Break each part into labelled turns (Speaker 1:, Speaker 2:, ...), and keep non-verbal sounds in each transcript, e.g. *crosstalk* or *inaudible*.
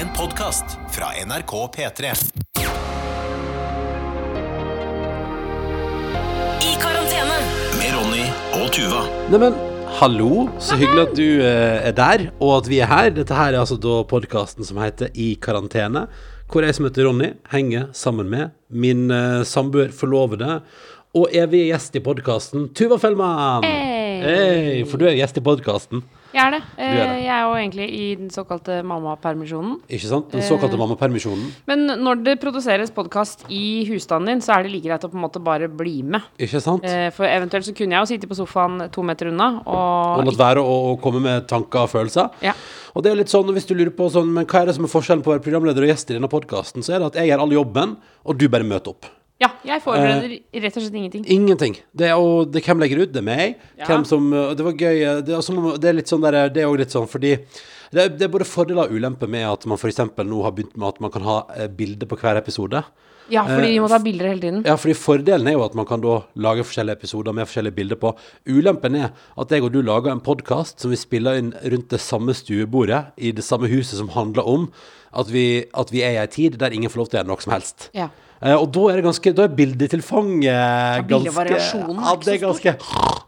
Speaker 1: En podkast fra NRK P3.
Speaker 2: I karantene.
Speaker 1: Med Ronny og Tuva.
Speaker 3: Neimen, hallo. Så hyggelig at du eh, er der, og at vi er her. Dette her er altså da podkasten som heter I karantene, hvor jeg som heter Ronny, henger sammen med min eh, samboer, forlovede, og evige gjest i podkasten, Tuva Fellmann.
Speaker 4: Hey.
Speaker 3: Hey, for du er gjest i podkasten,
Speaker 4: Jeg er det. Eh,
Speaker 3: er det.
Speaker 4: Jeg er jo egentlig i den såkalte mammapermisjonen.
Speaker 3: ikke sant? Den såkalte
Speaker 4: Eh.
Speaker 3: mammapermisjonen,
Speaker 4: Men når det produseres podkast i husstanden din, så er det like greit å på en måte bare bli med.
Speaker 3: ikke sant?
Speaker 4: Eh, For eventuelt så kunne jeg jo sitte på sofaen to meter unna
Speaker 3: Og
Speaker 4: og
Speaker 3: latt være å, å komme med tanker og følelser.
Speaker 4: Ja.
Speaker 3: Og det er jo litt sånn, hvis du lurer på sånn, men hva er det som er forskjellen på å være programleder og gjest i denne podkasten, så er det at jeg gjør all jobben, og du bare møter opp.
Speaker 4: Ja, jeg forbereder
Speaker 3: Eh,
Speaker 4: rett og slett ingenting.
Speaker 3: Ingenting. Det er, og det, hvem legger ut? Det er meg.
Speaker 4: Ja.
Speaker 3: Hvem som, og det var gøy. øh, Det er, som, om- det er litt sånn der, det er også litt sånn fordi det er, det er både fordeler og ulemper med at man f.eks. nå har begynt med at man kan ha eh, bilde på hver episode.
Speaker 4: Ja, fordi
Speaker 3: Eh,
Speaker 4: vi må ta bilder hele tiden.
Speaker 3: Ja, fordi Fordelen er jo at man kan da lage forskjellige episoder med forskjellige bilder på. Ulempen er at jeg og du lager en podkast som vi spiller inn rundt det samme stuebordet i det samme huset, som handler om at vi, at vi er i ei tid der ingen får lov til å gjøre noe som helst.
Speaker 4: Ja.
Speaker 3: Eh, og da er det ganske Da er bildetilfanget ganske
Speaker 4: bildevariasjonen er
Speaker 3: ja,
Speaker 4: ikke
Speaker 3: det er ganske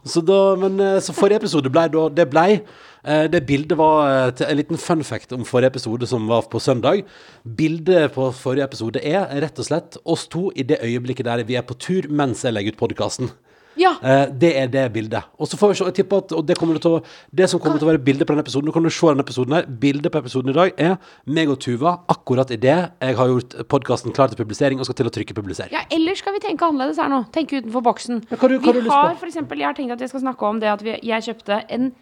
Speaker 3: så, da, men, eh, så forrige episode blei da Det blei. eh, Det bildet var eh, til en liten fun fact om forrige episode, som var på søndag. Bildet på forrige episode er rett og slett oss to i det øyeblikket der vi er på tur mens jeg legger ut podkasten.
Speaker 4: Ja.
Speaker 3: Det er det bildet. Og så får vi se, jeg tipper at og det, kommer det til å, det som kommer til å være bildet på denne episoden Nå kan du se denne episoden her Bildet på episoden i dag er meg og Tuva akkurat idet jeg har gjort podkasten klar til publisering og skal til å trykke publiser.
Speaker 4: Ja, Eller skal vi tenke annerledes her nå? Tenke utenfor boksen.
Speaker 3: Ja, hva har du- hva har du
Speaker 4: vi
Speaker 3: lyst på?
Speaker 4: har for eksempel, Jeg har tenkt at jeg skal snakke om det at vi, jeg kjøpte en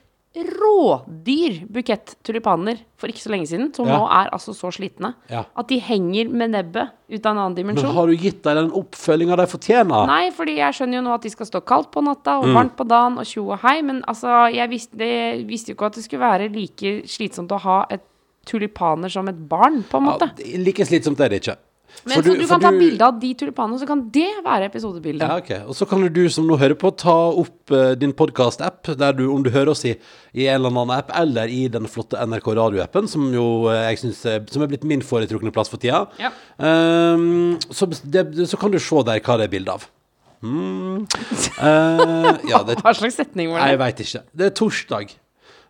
Speaker 4: rådyr bukett tulipaner for ikke så lenge siden, som
Speaker 3: Ja.
Speaker 4: nå er altså så slitne
Speaker 3: Ja.
Speaker 4: at de henger med nebbet ut av en annen
Speaker 3: Men
Speaker 4: dimensjon.
Speaker 3: har du gitt deg den oppfølginga de fortjener?
Speaker 4: Sånn. Nei, fordi jeg skjønner jo nå at de skal stå kaldt på natta
Speaker 3: Mm.
Speaker 4: og varmt på dagen og tjo og hei, men altså, jeg visste, jeg visste jo ikke at det skulle være like slitsomt å ha et tulipaner som et barn, på en måte.
Speaker 3: Ja, det- like slitsomt er det ikke.
Speaker 4: men så du kan ta bilde av de tulipanene, så kan det være episodebildet.
Speaker 3: Ja, ok. Og så kan jo du som nå hører på, ta opp eh, din podkast-app, der du, om du hører oss i, i en eller annen app, eller i den flotte NRK Radio-appen, som jo eh, jeg synes, eh, som er blitt min foretrukne plass for tida,
Speaker 4: Ja.
Speaker 3: Ehm, så, bes- det, så kan du se der hva det er bilde av. Mm. Eh, ja, det,
Speaker 4: *laughs* Hva slags setning var
Speaker 3: Nei,
Speaker 4: det?
Speaker 3: jeg veit ikke. Det er torsdag.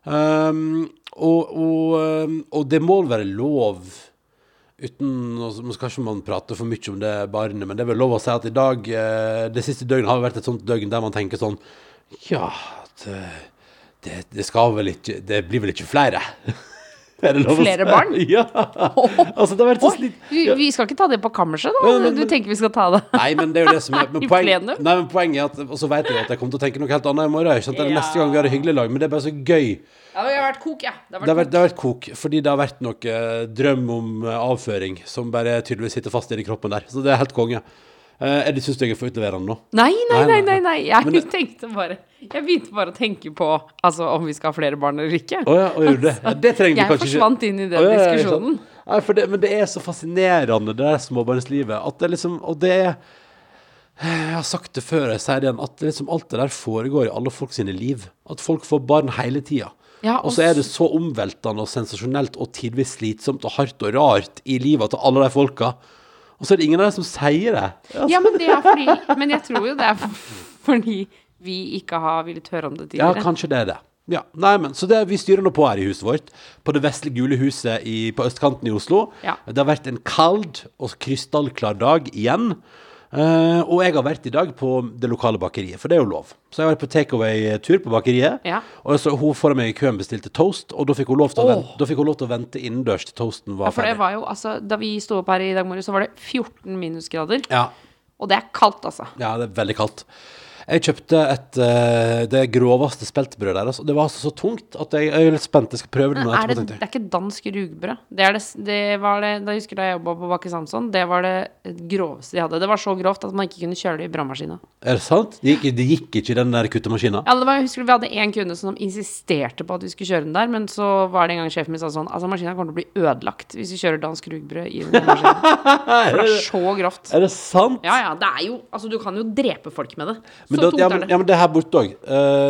Speaker 3: Ehm, og, og, ehm, og det må vel være lov Uten og så- Kanskje man prater for mye om det barnet, men det er vel lov å si at i dag, eh, det siste døgnet, har vært et sånt døgn der man tenker sånn Ja, det, det, det skal vel ikke Det blir vel ikke flere? *laughs* Er det lov å si?
Speaker 4: Flere barn?
Speaker 3: *laughs* Ja. Altså, det har vært *laughs* så slitt
Speaker 4: Vi, vi skal ikke ta det på kammerset, da?
Speaker 3: Ja, men-
Speaker 4: du tenker vi skal ta det?
Speaker 3: Nei, men det er jo det som er men
Speaker 4: *laughs* I
Speaker 3: poeng, nei,
Speaker 4: plenum?
Speaker 3: men Poenget er at Og så vet jeg at jeg kommer til å tenke noe helt annet i morgen. Ikke sant? Det er
Speaker 4: Ja.
Speaker 3: neste gang vi har det hyggelig i lag, men det er bare så gøy.
Speaker 4: *laughs* Ja, det har vært kok, ja. Det har
Speaker 3: Det har, vært, det har vært kok, fordi det har vært noe eh, drøm om eh, avføring som bare tydeligvis sitter fast i den kroppen der. Så det er helt konge. Eh, Jeg syns jeg er for utleverende nå.
Speaker 4: Nei, nei, nei, nei, nei. Jeg
Speaker 3: Men det-
Speaker 4: tenkte bare Jeg begynte bare å tenke på altså, om vi skal ha flere barn eller ikke. Altså,
Speaker 3: Å ja, å, gjør du det? Ja, det trenger vi
Speaker 4: jeg
Speaker 3: kanskje ikke.
Speaker 4: forsvant inn i den
Speaker 3: Å, ja, ja, ja,
Speaker 4: diskusjonen.
Speaker 3: sant. Nei, for det, men det er så fascinerende, det der småbarnslivet. At det liksom, og det er Jeg har sagt det før, jeg sier det igjen, at det liksom alt det der foregår i alle folk sine liv. At folk får barn hele tida.
Speaker 4: Ja,
Speaker 3: og
Speaker 4: og
Speaker 3: så er det så omveltende og sensasjonelt og tidvis slitsomt og hardt og rart i livet til alle de folka. Og så er det ingen av dem som sier det. Altså,
Speaker 4: Ja, men det er fordi Men jeg tror jo det er *laughs* f- fordi vi ikke har villet høre om det
Speaker 3: Ja,
Speaker 4: tidligere.
Speaker 3: kanskje det er det. Ja, nei, men, så det, Vi styrer nå på her i huset vårt, på det vesle gule huset i, på østkanten i Oslo.
Speaker 4: Ja.
Speaker 3: Det har vært en kald og krystallklar dag igjen. Eh, og jeg har vært i dag på det lokale bakeriet, for det er jo lov. Så jeg har vært på takeaway-tur på bakeriet.
Speaker 4: Ja.
Speaker 3: Og så hun foran meg i køen bestilte toast, og da fikk hun lov til å,
Speaker 4: Åh.
Speaker 3: vente, da fikk hun lov til å vente innendørs til toasten var
Speaker 4: For det
Speaker 3: ferdig.
Speaker 4: var jo, altså, Da vi sto opp her i dag morges, så var det 14 minusgrader.
Speaker 3: Ja,
Speaker 4: Og det er kaldt, altså.
Speaker 3: Ja, det er veldig kaldt. Jeg kjøpte et, eh, det groveste speltbrødet deres, og det var altså så tungt at jeg, jeg er litt spent. Jeg skal prøve det nå.
Speaker 4: Er det,
Speaker 3: etterpå, tenkte jeg.
Speaker 4: det er ikke dansk rugbrød. Det er det, s- det var det, da jeg husker da jeg jobba på Bakke Samson, det var det groveste de hadde. Det var så grovt at man ikke kunne kjøre det i brannmaskina.
Speaker 3: Er det sant? Det gikk, det gikk ikke i den der kuttemaskina?
Speaker 4: Ja, det var, jeg husker Vi hadde én kunde som insisterte på at vi skulle kjøre den der, men så var det en gang sjefen min sa sånn Altså, maskina kommer til å bli ødelagt hvis vi kjører dansk rugbrød i den maskina. For det er så grovt.
Speaker 3: *laughs* Er det sant?
Speaker 4: Ja, ja, det er jo Altså, du kan jo drepe folk med det. Så
Speaker 3: Men
Speaker 4: så
Speaker 3: det, ja, men,
Speaker 4: tungt er
Speaker 3: ja,
Speaker 4: det.
Speaker 3: men det er her borte òg.
Speaker 4: Ja,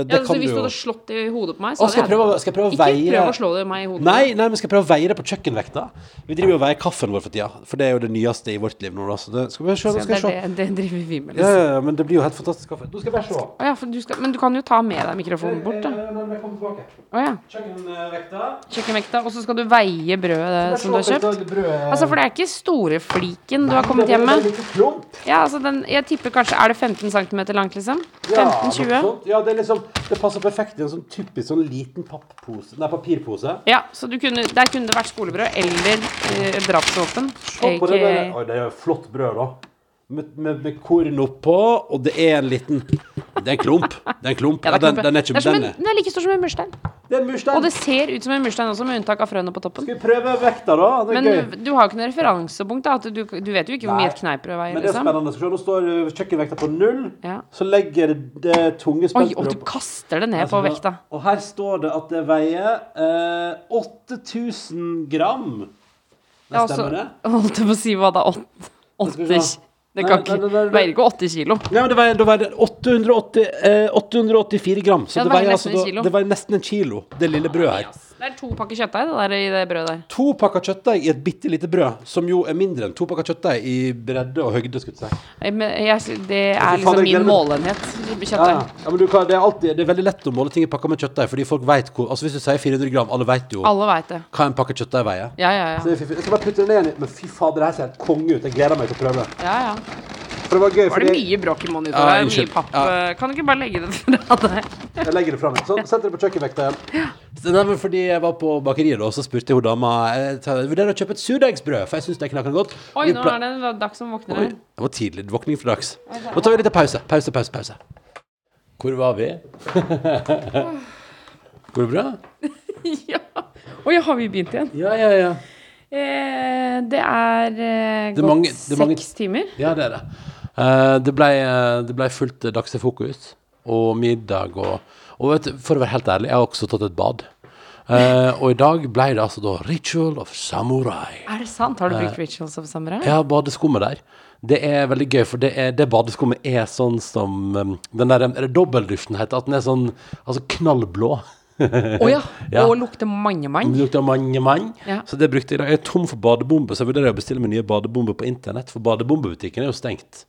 Speaker 3: det
Speaker 4: altså,
Speaker 3: kan du
Speaker 4: hvis du
Speaker 3: jo.
Speaker 4: hadde slått det i hodet på meg,
Speaker 3: Å,
Speaker 4: så
Speaker 3: skal jeg prøve, skal jeg prøve å veie
Speaker 4: Ikke prøv å slå det meg i hodet.
Speaker 3: Nei, nei, men skal jeg prøve å veie det på kjøkkenvekta? Vi driver jo og veier kaffen vår for tida, for det er jo det nyeste i vårt liv nå. Da. Så det, skal vi se, nå
Speaker 4: Så
Speaker 3: skal
Speaker 4: det,
Speaker 3: jeg se.
Speaker 4: er det, det driver vi med.
Speaker 3: Ja,
Speaker 4: Liksom.
Speaker 3: ja, ja, men det blir jo helt fantastisk kaffe. Nå skal jeg bare se.
Speaker 4: Å ja, for du skal, men du kan jo ta med deg mikrofonen bort, da.
Speaker 3: Eh, Når jeg kommer tilbake.
Speaker 4: Å ja.
Speaker 3: Kjøkkenvekta.
Speaker 4: Kjøkkenvekta. Og så skal du veie brødet
Speaker 3: Bare
Speaker 4: som du har
Speaker 3: se at
Speaker 4: sånn kjøpt.
Speaker 3: det brødet-
Speaker 4: Altså, for det er ikke store fliken du har kommet
Speaker 3: Det er
Speaker 4: hjem
Speaker 3: bare en
Speaker 4: med.
Speaker 3: liten klump.
Speaker 4: Ja, altså den Jeg tipper kanskje Er det 15 cm langt, liksom?
Speaker 3: Ja, noe
Speaker 4: 15-20?
Speaker 3: sånt. Ja, det er liksom Det passer perfekt i en sånn typisk sånn liten papppose Nei, papirpose.
Speaker 4: Ja, så du kunne, der kunne det vært skolebrød eller eh, drapsvåpen.
Speaker 3: Se på det der.
Speaker 4: aka.
Speaker 3: Oi, det er jo flott brød, da. Med, med, med korn oppå, og det er en liten Det er en klump. Det er en klump.
Speaker 4: Ja,
Speaker 3: Ja,
Speaker 4: det
Speaker 3: den,
Speaker 4: klumpe.
Speaker 3: den er ikke
Speaker 4: Det som
Speaker 3: den
Speaker 4: en,
Speaker 3: er,
Speaker 4: den er like stor som en murstein.
Speaker 3: Det er en murstein.
Speaker 4: Og det ser ut som en murstein også, med unntak av frøene på toppen.
Speaker 3: Skal vi prøve vekta, da? Det er
Speaker 4: Men
Speaker 3: gøy.
Speaker 4: du, du har jo ikke noe referansepunkt. da at Du, du vet jo ikke hvor
Speaker 3: Nei.
Speaker 4: mye et kneippbrød veier.
Speaker 3: Men det er
Speaker 4: Liksom.
Speaker 3: spennende. Skal vi se, nå står eh, kjøkkenvekta på null.
Speaker 4: Ja.
Speaker 3: Så legger det, det tunge
Speaker 4: Oi, og du
Speaker 3: speltbrødet
Speaker 4: kaster det ned
Speaker 3: Altså,
Speaker 4: på vekta.
Speaker 3: Og her står det at det veier eh, 8000 gram. Det
Speaker 4: Ja, altså-
Speaker 3: stemmer det?
Speaker 4: Jeg *laughs* holdt på å si hva da? Åtte,
Speaker 3: skal
Speaker 4: åtte
Speaker 3: vi se.
Speaker 4: ki- Det
Speaker 3: Nei,
Speaker 4: kan
Speaker 3: nei,
Speaker 4: ikke
Speaker 3: nei, nei, nei.
Speaker 4: Veier ikke åtte kilo.
Speaker 3: Nei, men det veier, det veier 880, eh, 884 gram. Så
Speaker 4: Ja,
Speaker 3: det,
Speaker 4: det veier
Speaker 3: veier
Speaker 4: nesten
Speaker 3: altså,
Speaker 4: en
Speaker 3: da-
Speaker 4: kilo.
Speaker 3: det veier nesten en kilo, det lille brødet her.
Speaker 4: Det er to pakker kjøttdeig det der, i det brødet der.
Speaker 3: To pakker kjøttdeig i et bitte lite brød, som jo er mindre enn to pakker kjøttdeig i bredde og høgde. skulle jeg si.
Speaker 4: Jeg- men Jeg, det er
Speaker 3: faen,
Speaker 4: liksom
Speaker 3: jeg gleder meg.
Speaker 4: min målenhet.
Speaker 3: Ja,
Speaker 4: Kjøttdeig.
Speaker 3: ja. ja, men du kan, det, er alltid, det er veldig lett å måle ting i pakker med kjøttdeig, fordi folk vet hvor Altså hvis du sier 400 gram, alle vet jo
Speaker 4: Alle veit det.
Speaker 3: hva en pakke kjøttdeig veier.
Speaker 4: Ja, ja,
Speaker 3: Så
Speaker 4: ja.
Speaker 3: det er fiffig. Jeg skal bare putte det ned igjen. i- Men fy fader, det her ser helt konge ut. Jeg gleder meg til å prøve det.
Speaker 4: ja, ja.
Speaker 3: For det var gøy,
Speaker 4: Var det
Speaker 3: fordi
Speaker 4: mye bråk i
Speaker 3: Ja,
Speaker 4: monitoren? mye
Speaker 3: unnskyld.
Speaker 4: papp? eh,
Speaker 3: Ja.
Speaker 4: Kan du ikke bare legge det *laughs* fra deg?
Speaker 3: jeg legger det fra meg. Sånn, setter det på kjøkkenvekta igjen. Så, nei, men fordi jeg var på bakeriet, da, så spurte hun dama eh, ta- Jeg vurderer å kjøpe et surdeigsbrød, for jeg syns det er knakende godt.
Speaker 4: Oi,
Speaker 3: Vi
Speaker 4: nå
Speaker 3: pla-
Speaker 4: er det en sånn dag som våkner
Speaker 3: Oi,
Speaker 4: her.
Speaker 3: det var tidlig våkning fra dags. Nå tar vi litt pause. Pause, pause, pause. Hvor var vi? *laughs* Går det bra?
Speaker 4: *laughs* Ja. Oi, har vi begynt igjen?
Speaker 3: Ja, ja, ja.
Speaker 4: Eh, det er eh,
Speaker 3: er
Speaker 4: gått
Speaker 3: mange- det er mange-
Speaker 4: seks timer.
Speaker 3: Ja, det er det. Eh, det ble, eh, det ble fullt eh, dagslig fokus og middag og Og vet, du, for å være helt ærlig, jeg har også tatt et bad. Eh, og i dag ble det altså da Ritual of Samurai.
Speaker 4: Er det sant? Har du brukt Rituals of Samurai?
Speaker 3: Jeg har badeskummet der. Det er veldig gøy, for det, er, det badeskummet er sånn som um, Den der, er det dobbeldusjen heter? At den er sånn altså knallblå.
Speaker 4: Å ja.
Speaker 3: *laughs* Ja.
Speaker 4: Og lukter mannemann.
Speaker 3: Det lukter mange mann.
Speaker 4: Ja.
Speaker 3: Så det brukte jeg i dag. Jeg er tom for badebomber, så jeg vurderer å bestille meg nye badebomber på internett, for badebombebutikken er jo stengt.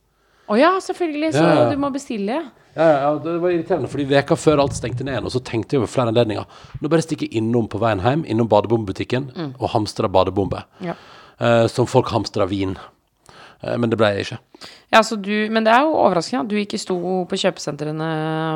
Speaker 4: Å ja, selvfølgelig. Så
Speaker 3: Ja, ja.
Speaker 4: du må bestille.
Speaker 3: Ja, ja, ja, det var irriterende, fordi veka før alt stengte ned, og så tenkte jeg over flere anledninger. Nå bare stikker jeg innom på veien hjem, innom badebombebutikken, og hamstrer badebombe.
Speaker 4: Mm. Ja.
Speaker 3: Eh, som folk hamstrer vin. Eh, men det ble jeg ikke.
Speaker 4: Ja, så du, men det er jo overraskende at du ikke sto på kjøpesentrene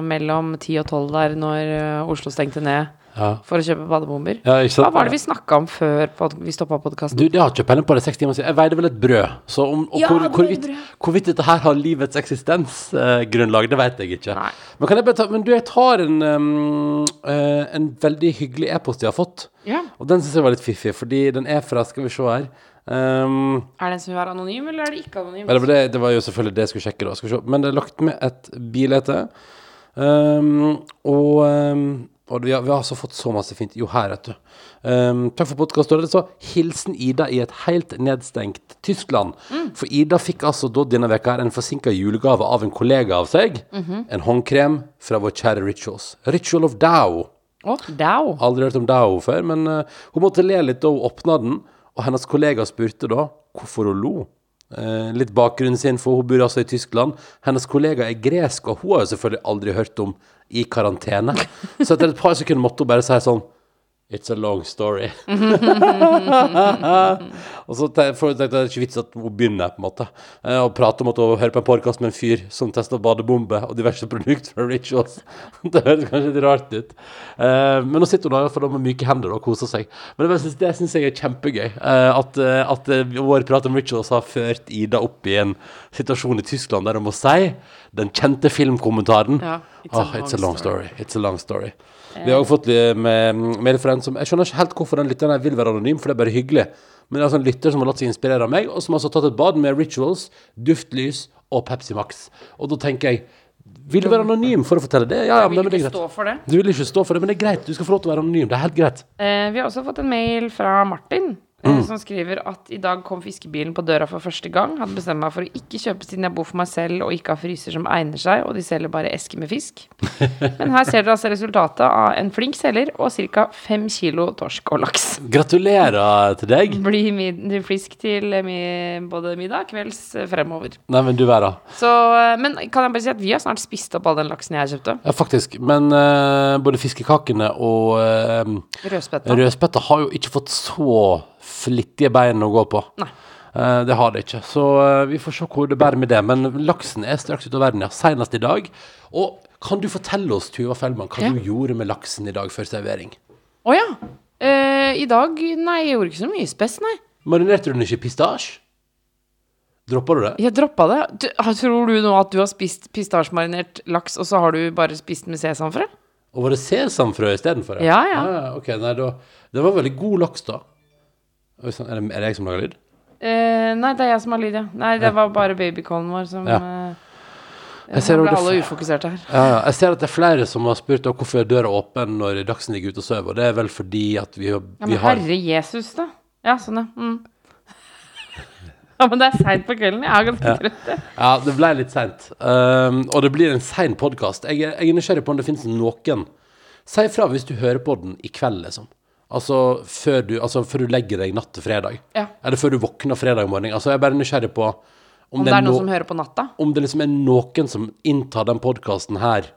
Speaker 4: mellom 10 og 12 der når eh, Oslo stengte ned
Speaker 3: Ja.
Speaker 4: for å kjøpe badebomber.
Speaker 3: Ja, ikke sant?
Speaker 4: Hva var det vi snakka om før pod vi stoppa podkasten?
Speaker 3: Du, det har ikke peiling på det seks timer siden. Jeg veide vel et brød. Så om, og
Speaker 4: Ja,
Speaker 3: hvor,
Speaker 4: det var et
Speaker 3: hvorvidt,
Speaker 4: brød.
Speaker 3: hvorvidt dette her har livets eksistensgrunnlag, det vet jeg ikke.
Speaker 4: Nei.
Speaker 3: Men, kan jeg bare ta, men du, jeg tar en, um, eh, en veldig hyggelig e-post jeg har fått.
Speaker 4: Ja.
Speaker 3: Og den syns jeg var litt fiffig, fordi den er fra Skal vi se her. Um,
Speaker 4: Er det en som vil være anonym, eller er det ikke anonym?
Speaker 3: men det, var det, det var jo selvfølgelig det jeg skulle sjekke, da. Skal vi se. Men det er lagt med et bilete. Um, og um, og vi, har, vi har altså fått så masse fint. Jo, her, vet du. Um, takk for podkasten. Det står 'Hilsen Ida i et helt nedstengt Tyskland'. For Ida fikk altså da denne veka her en forsinka julegave av en kollega av seg. En håndkrem fra vår kjære Rituals. Ritual of Dow.
Speaker 4: Å, Dow.
Speaker 3: Aldri hørt om Dao før, men eh, hun måtte le litt da hun åpna den, og hennes kollega spurte da hvorfor hun lo. Eh, litt bakgrunnen sin, for hun bor altså i Tyskland. Hennes kollega er gresk, og hun har jo selvfølgelig aldri hørt om i karantene. Så etter et par sekunder måtte hun bare si sånn It's a long story. og så te- for- tenkte jeg det er ikke vits at hun begynner, på en måte. Eh, Og prater om at hun hører på en podkast med en fyr som tester badebombe og diverse *laughs* produkter fra Rituals. det høres kanskje litt rart ut. Eh, Men nå sitter hun da i hvert fall med myke hender og koser seg. Men det syns, det synes jeg er kjempegøy. eh, At, eh, at eh, vår prat om Rituals har ført Ida opp i en situasjon i Tyskland der hun må si den kjente filmkommentaren
Speaker 4: Ja,
Speaker 3: It's a, it's a long story. It's a long story. Vi har også fått eh, med mail fra en som Jeg skjønner ikke helt hvorfor den lytteren her vil være anonym, for det er bare hyggelig. Men det er altså en lytter som har latt seg inspirere av meg, og som altså har tatt et bad med rituals, duftlys og Pepsi Max. Og da tenker jeg Vil du være anonym for å fortelle det? Ja, ja,
Speaker 4: Vil
Speaker 3: men
Speaker 4: du
Speaker 3: det er
Speaker 4: ikke
Speaker 3: greit.
Speaker 4: stå for det?
Speaker 3: Du vil ikke stå for det, men det er greit. Du skal få lov til å være anonym. Det er helt greit.
Speaker 4: Eh, vi har også fått en mail fra Martin. eh, som skriver at i dag kom fiskebilen på døra for første gang. Hadde bestemt meg for å ikke kjøpe siden jeg bor for meg selv og ikke har fryser som egner seg, og de selger bare esker med fisk. Men her ser dere altså resultatet av en flink selger og ca. fem kilo torsk og laks.
Speaker 3: Gratulerer til deg.
Speaker 4: Blir mid frisk til eh, mi både middag, kvelds eh, fremover.
Speaker 3: Nei, men du verden.
Speaker 4: Så, eh, men kan jeg bare si at vi har snart spist opp all den laksen jeg kjøpte.
Speaker 3: Ja, faktisk. Men eh, både fiskekakene og eh,
Speaker 4: Rødspetta.
Speaker 3: rødspetta har jo ikke fått så flittige bein å gå på.
Speaker 4: Nei.
Speaker 3: Eh, det har det ikke. Så eh, vi får se hvor det bærer med det. Men laksen er straks ute av verden, ja. Senest i dag. Og kan du fortelle oss, Tuva Fellmann, hva
Speaker 4: Ja.
Speaker 3: du gjorde med laksen i dag før servering?
Speaker 4: Å ja. Eh, I dag Nei, jeg gjorde ikke så mye spess, nei.
Speaker 3: Marinerte du den ikke i pistasje? Droppa du det?
Speaker 4: Jeg droppa det. Du, har- tror du nå at du har spist pistasjemarinert laks, og så har du bare spist med sesamfrø?
Speaker 3: Og var det sesamfrø istedenfor?
Speaker 4: Ja, ja.
Speaker 3: Ah, ok, nei, da, det var veldig god laks, da. Oi, sann, Er det, er det jeg som lager lyd?
Speaker 4: Eh, nei, det er jeg som har lyd, ja. Nei, det var bare babycallen vår som
Speaker 3: Ja.
Speaker 4: eh,
Speaker 3: Jeg ser
Speaker 4: Nå ble
Speaker 3: ordet
Speaker 4: alle
Speaker 3: f-
Speaker 4: ufokuserte her.
Speaker 3: Ja, ja. Jeg ser at det er flere som har spurt om hvorfor er døra åpen når Dagsen ligger ute og sover. Og det er vel fordi at vi,
Speaker 4: Ja,
Speaker 3: vi
Speaker 4: men
Speaker 3: har
Speaker 4: herre Jesus, da. Ja, sånn, ja. Mm. *laughs* ja, men det er seint på kvelden. Jeg er ganske trøtt. jeg.
Speaker 3: Ja, det ble litt seint. Um, og det blir en sein podkast. Jeg, er- jeg er nysgjerrig på om det finnes noen. Si ifra hvis du hører på den i kveld, liksom. Altså før du, altså, før du legger deg natt til fredag.
Speaker 4: Ja.
Speaker 3: Eller før du våkner fredag morgen. Altså, jeg er bare nysgjerrig på om,
Speaker 4: Om det er
Speaker 3: no-
Speaker 4: noen som hører på natta?
Speaker 3: om det liksom er noen som inntar den podkasten her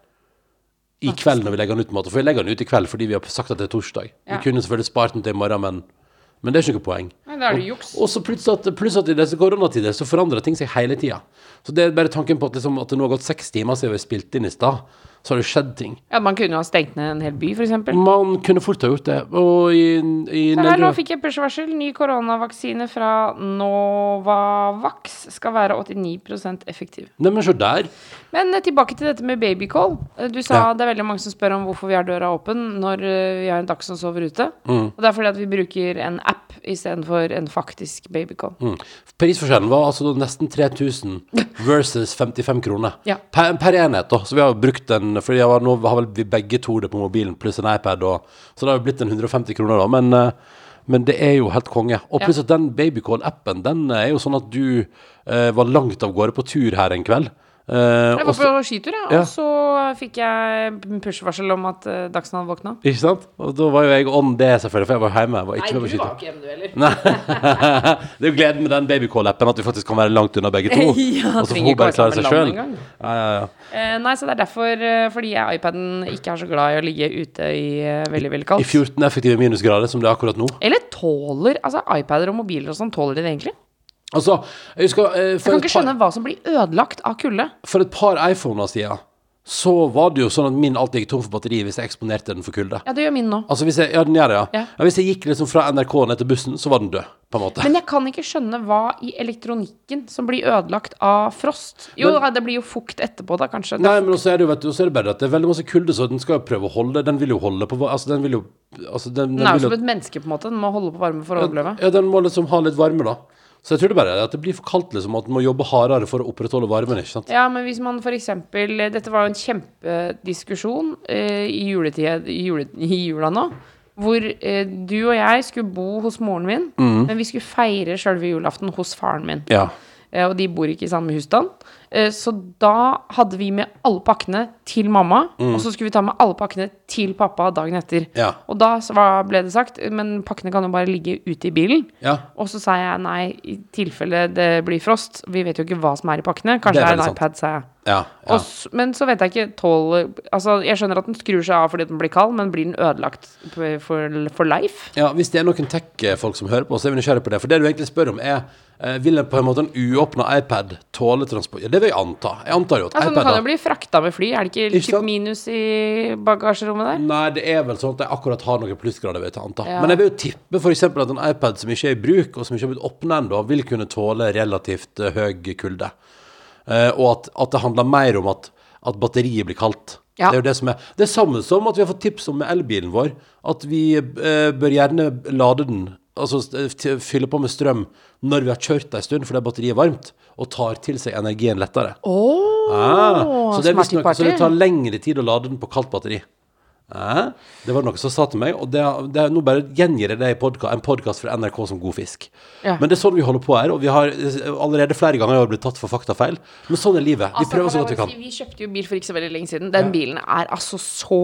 Speaker 3: i kveld når vi legger den ut. på en måte. For vi legger den ut i kveld fordi vi har sagt at det er torsdag.
Speaker 4: Ja.
Speaker 3: Vi kunne selvfølgelig spart den til i morgen, men, men det er ikke noe poeng.
Speaker 4: Nei, da er det juks.
Speaker 3: Og så plutselig at, plutselig at i disse koronatider så forandrer ting seg hele tida. Så det er bare tanken på at, liksom, at det nå har gått seks timer siden vi spilte inn i stad, så har det skjedd ting.
Speaker 4: Ja, Man kunne jo ha stengt ned en hel by, f.eks.
Speaker 3: Man kunne fort ha gjort det. Og i, i
Speaker 4: Se her, nå
Speaker 3: Nødre-
Speaker 4: fikk jeg push-varsel. Ny koronavaksine fra Novavax skal være 89 effektiv.
Speaker 3: Nei, men se der.
Speaker 4: Men eh, tilbake til dette med babycall. Eh, Du sa
Speaker 3: Ja.
Speaker 4: det er veldig mange som spør om hvorfor vi har døra åpen når eh, vi har en dag som sover ute.
Speaker 3: Mm.
Speaker 4: Og det er fordi at vi bruker en app istedenfor en faktisk babycall.
Speaker 3: Mm. Prisforskjellen var altså da nesten 3000 versus 55 kroner.
Speaker 4: Ja.
Speaker 3: Per, per enhet, da. Så vi har brukt den Fordi jeg var, nå har vel vi begge to det på mobilen pluss en iPad, og, så det har jo blitt en 150 kroner, da. Men, eh, men det er jo helt konge. Og
Speaker 4: Ja.
Speaker 3: pluss at den Babycall-appen, den er jo sånn at du eh, var langt av gårde på tur her en kveld. Eh, og
Speaker 4: Jeg var
Speaker 3: så-
Speaker 4: på skitur, ja,
Speaker 3: Ja.
Speaker 4: og så eh, fikk jeg push-varsel om at eh, Dagsen hadde våkna.
Speaker 3: ikke sant? Og da var jo jeg on det, selvfølgelig, for jeg var hjemme. Jeg var ikke med på skitur.
Speaker 4: ikke hjemme, du heller.
Speaker 3: Nei. det er jo gleden med den babycall-appen at vi faktisk kan være langt unna begge to.
Speaker 4: *laughs* Ja,
Speaker 3: og så får
Speaker 4: trenger
Speaker 3: hun
Speaker 4: ikke
Speaker 3: bare
Speaker 4: være
Speaker 3: klare
Speaker 4: sammen
Speaker 3: seg
Speaker 4: med
Speaker 3: sjøl.
Speaker 4: landet engang.
Speaker 3: Ja, ja, ja.
Speaker 4: Eh, nei, så det er derfor, eh, fordi jeg iPaden ikke er så glad i å ligge ute i eh, veldig, veldig
Speaker 3: I
Speaker 4: kaldt.
Speaker 3: 14 effektive minusgrader, som det er akkurat nå.
Speaker 4: Eller tåler Altså, iPader og mobiler og sånn, tåler de det egentlig?
Speaker 3: Altså, jeg husker eh,
Speaker 4: Jeg
Speaker 3: for,
Speaker 4: kan
Speaker 3: et
Speaker 4: ikke
Speaker 3: par,
Speaker 4: skjønne hva som blir ødelagt av kulde.
Speaker 3: for et par iPhoner siden, så var det jo sånn at min alltid gikk tom for batteri hvis jeg eksponerte den for kulde.
Speaker 4: Ja, det gjør min nå.
Speaker 3: Altså, hvis jeg, ja, den gjør det, ja.
Speaker 4: Ja.
Speaker 3: ja. Hvis jeg gikk liksom fra NRK ned til bussen, så var den død, på en måte.
Speaker 4: Men jeg kan ikke skjønne hva i elektronikken som blir ødelagt av frost. Jo,
Speaker 3: Men-
Speaker 4: ja, det blir jo fukt etterpå, da, kanskje. Det-
Speaker 3: Nei, men også er det jo, vet du, så er det bare at det er veldig masse kulde, så den skal jo prøve å holde, den vil jo holde på, va- altså, den vil jo, altså, den, den
Speaker 4: Den er
Speaker 3: vil
Speaker 4: jo som
Speaker 3: jo
Speaker 4: et menneske, på en måte. Den må holde på varme for å overleve.
Speaker 3: Ja, den må liksom ha litt varme, da. Så jeg tror det bare er at det blir for kaldt, liksom, at den må jobbe hardere for å opprettholde varmen, ikke sant?
Speaker 4: Ja, men hvis man for eksempel eh, Dette var jo en kjempediskusjon eh, i, juletid, i, jule, i jula nå. Hvor eh, du og jeg skulle bo hos moren min,
Speaker 3: Mm.
Speaker 4: men vi skulle feire sjølve julaften hos faren min.
Speaker 3: Ja.
Speaker 4: Eh, og de bor ikke i samme husstand. Eh, så da hadde vi med alle pakkene til mamma, og så skulle vi ta med alle pakkene til pappa dagen etter.
Speaker 3: Mm. Ja.
Speaker 4: Og da så var- ble det sagt men pakkene kan jo bare ligge ute i bilen.
Speaker 3: Ja.
Speaker 4: Og så sa jeg nei, i tilfelle det blir frost. Vi vet jo ikke hva som er i pakkene. Kanskje
Speaker 3: Det
Speaker 4: det
Speaker 3: er
Speaker 4: er, en
Speaker 3: veldig sant.
Speaker 4: iPad, sa jeg.
Speaker 3: Ja.
Speaker 4: Og
Speaker 3: ja.
Speaker 4: s- men så vet jeg ikke tåler Altså, jeg skjønner at den skrur seg av fordi den blir kald, men blir den ødelagt for, for, for life?
Speaker 3: Ja, Hvis det er noen tech-folk som hører på, så er vi nysgjerrig på det. For det du egentlig spør om, er eh, Vil en på en måte en uåpna iPad tåle transport? Ja, det vil jeg anta. Jeg antar jo at
Speaker 4: Altså, den kan jo
Speaker 3: iPader
Speaker 4: bli frakta med fly. Er det ikke,
Speaker 3: Ikke
Speaker 4: typ
Speaker 3: sant?
Speaker 4: minus i bagasjerommet der?
Speaker 3: Nei, det er vel sånn at de akkurat har noen plussgrader, vil jeg anta.
Speaker 4: Ja.
Speaker 3: Men jeg vil jo tippe for eksempel at en iPad som ikke er i bruk, og som ikke har blitt åpna ennå, vil kunne tåle relativt eh, høy kulde. Eh, og at, at det handler mer om at, at batteriet blir kaldt.
Speaker 4: Ja.
Speaker 3: Det er jo det som er Det er samme som at vi har fått tips om med elbilen vår, at vi eh, bør gjerne lade den, altså st- t- fylle på med strøm når vi har kjørt en stund fordi batteriet er varmt, og tar til seg energien lettere.
Speaker 4: Åh,
Speaker 3: Ah, så, det er
Speaker 4: smarty
Speaker 3: visstnok- så det
Speaker 4: party.
Speaker 3: tar lengre tid å lade den på kaldt batteri. Hæ? Det var det noen som sa til meg, og det, det, nå bare gjengir jeg det i podka, en podkast fra NRK som god fisk.
Speaker 4: Ja.
Speaker 3: Men det er sånn vi holder på her, og vi har allerede flere ganger i år blitt tatt for faktafeil. Men sånn er livet. Vi
Speaker 4: Altså,
Speaker 3: prøver så
Speaker 4: kan
Speaker 3: godt
Speaker 4: jeg
Speaker 3: vi
Speaker 4: bare
Speaker 3: kan.
Speaker 4: Si, vi kjøpte jo bil for ikke så veldig lenge siden. Den bilen er altså så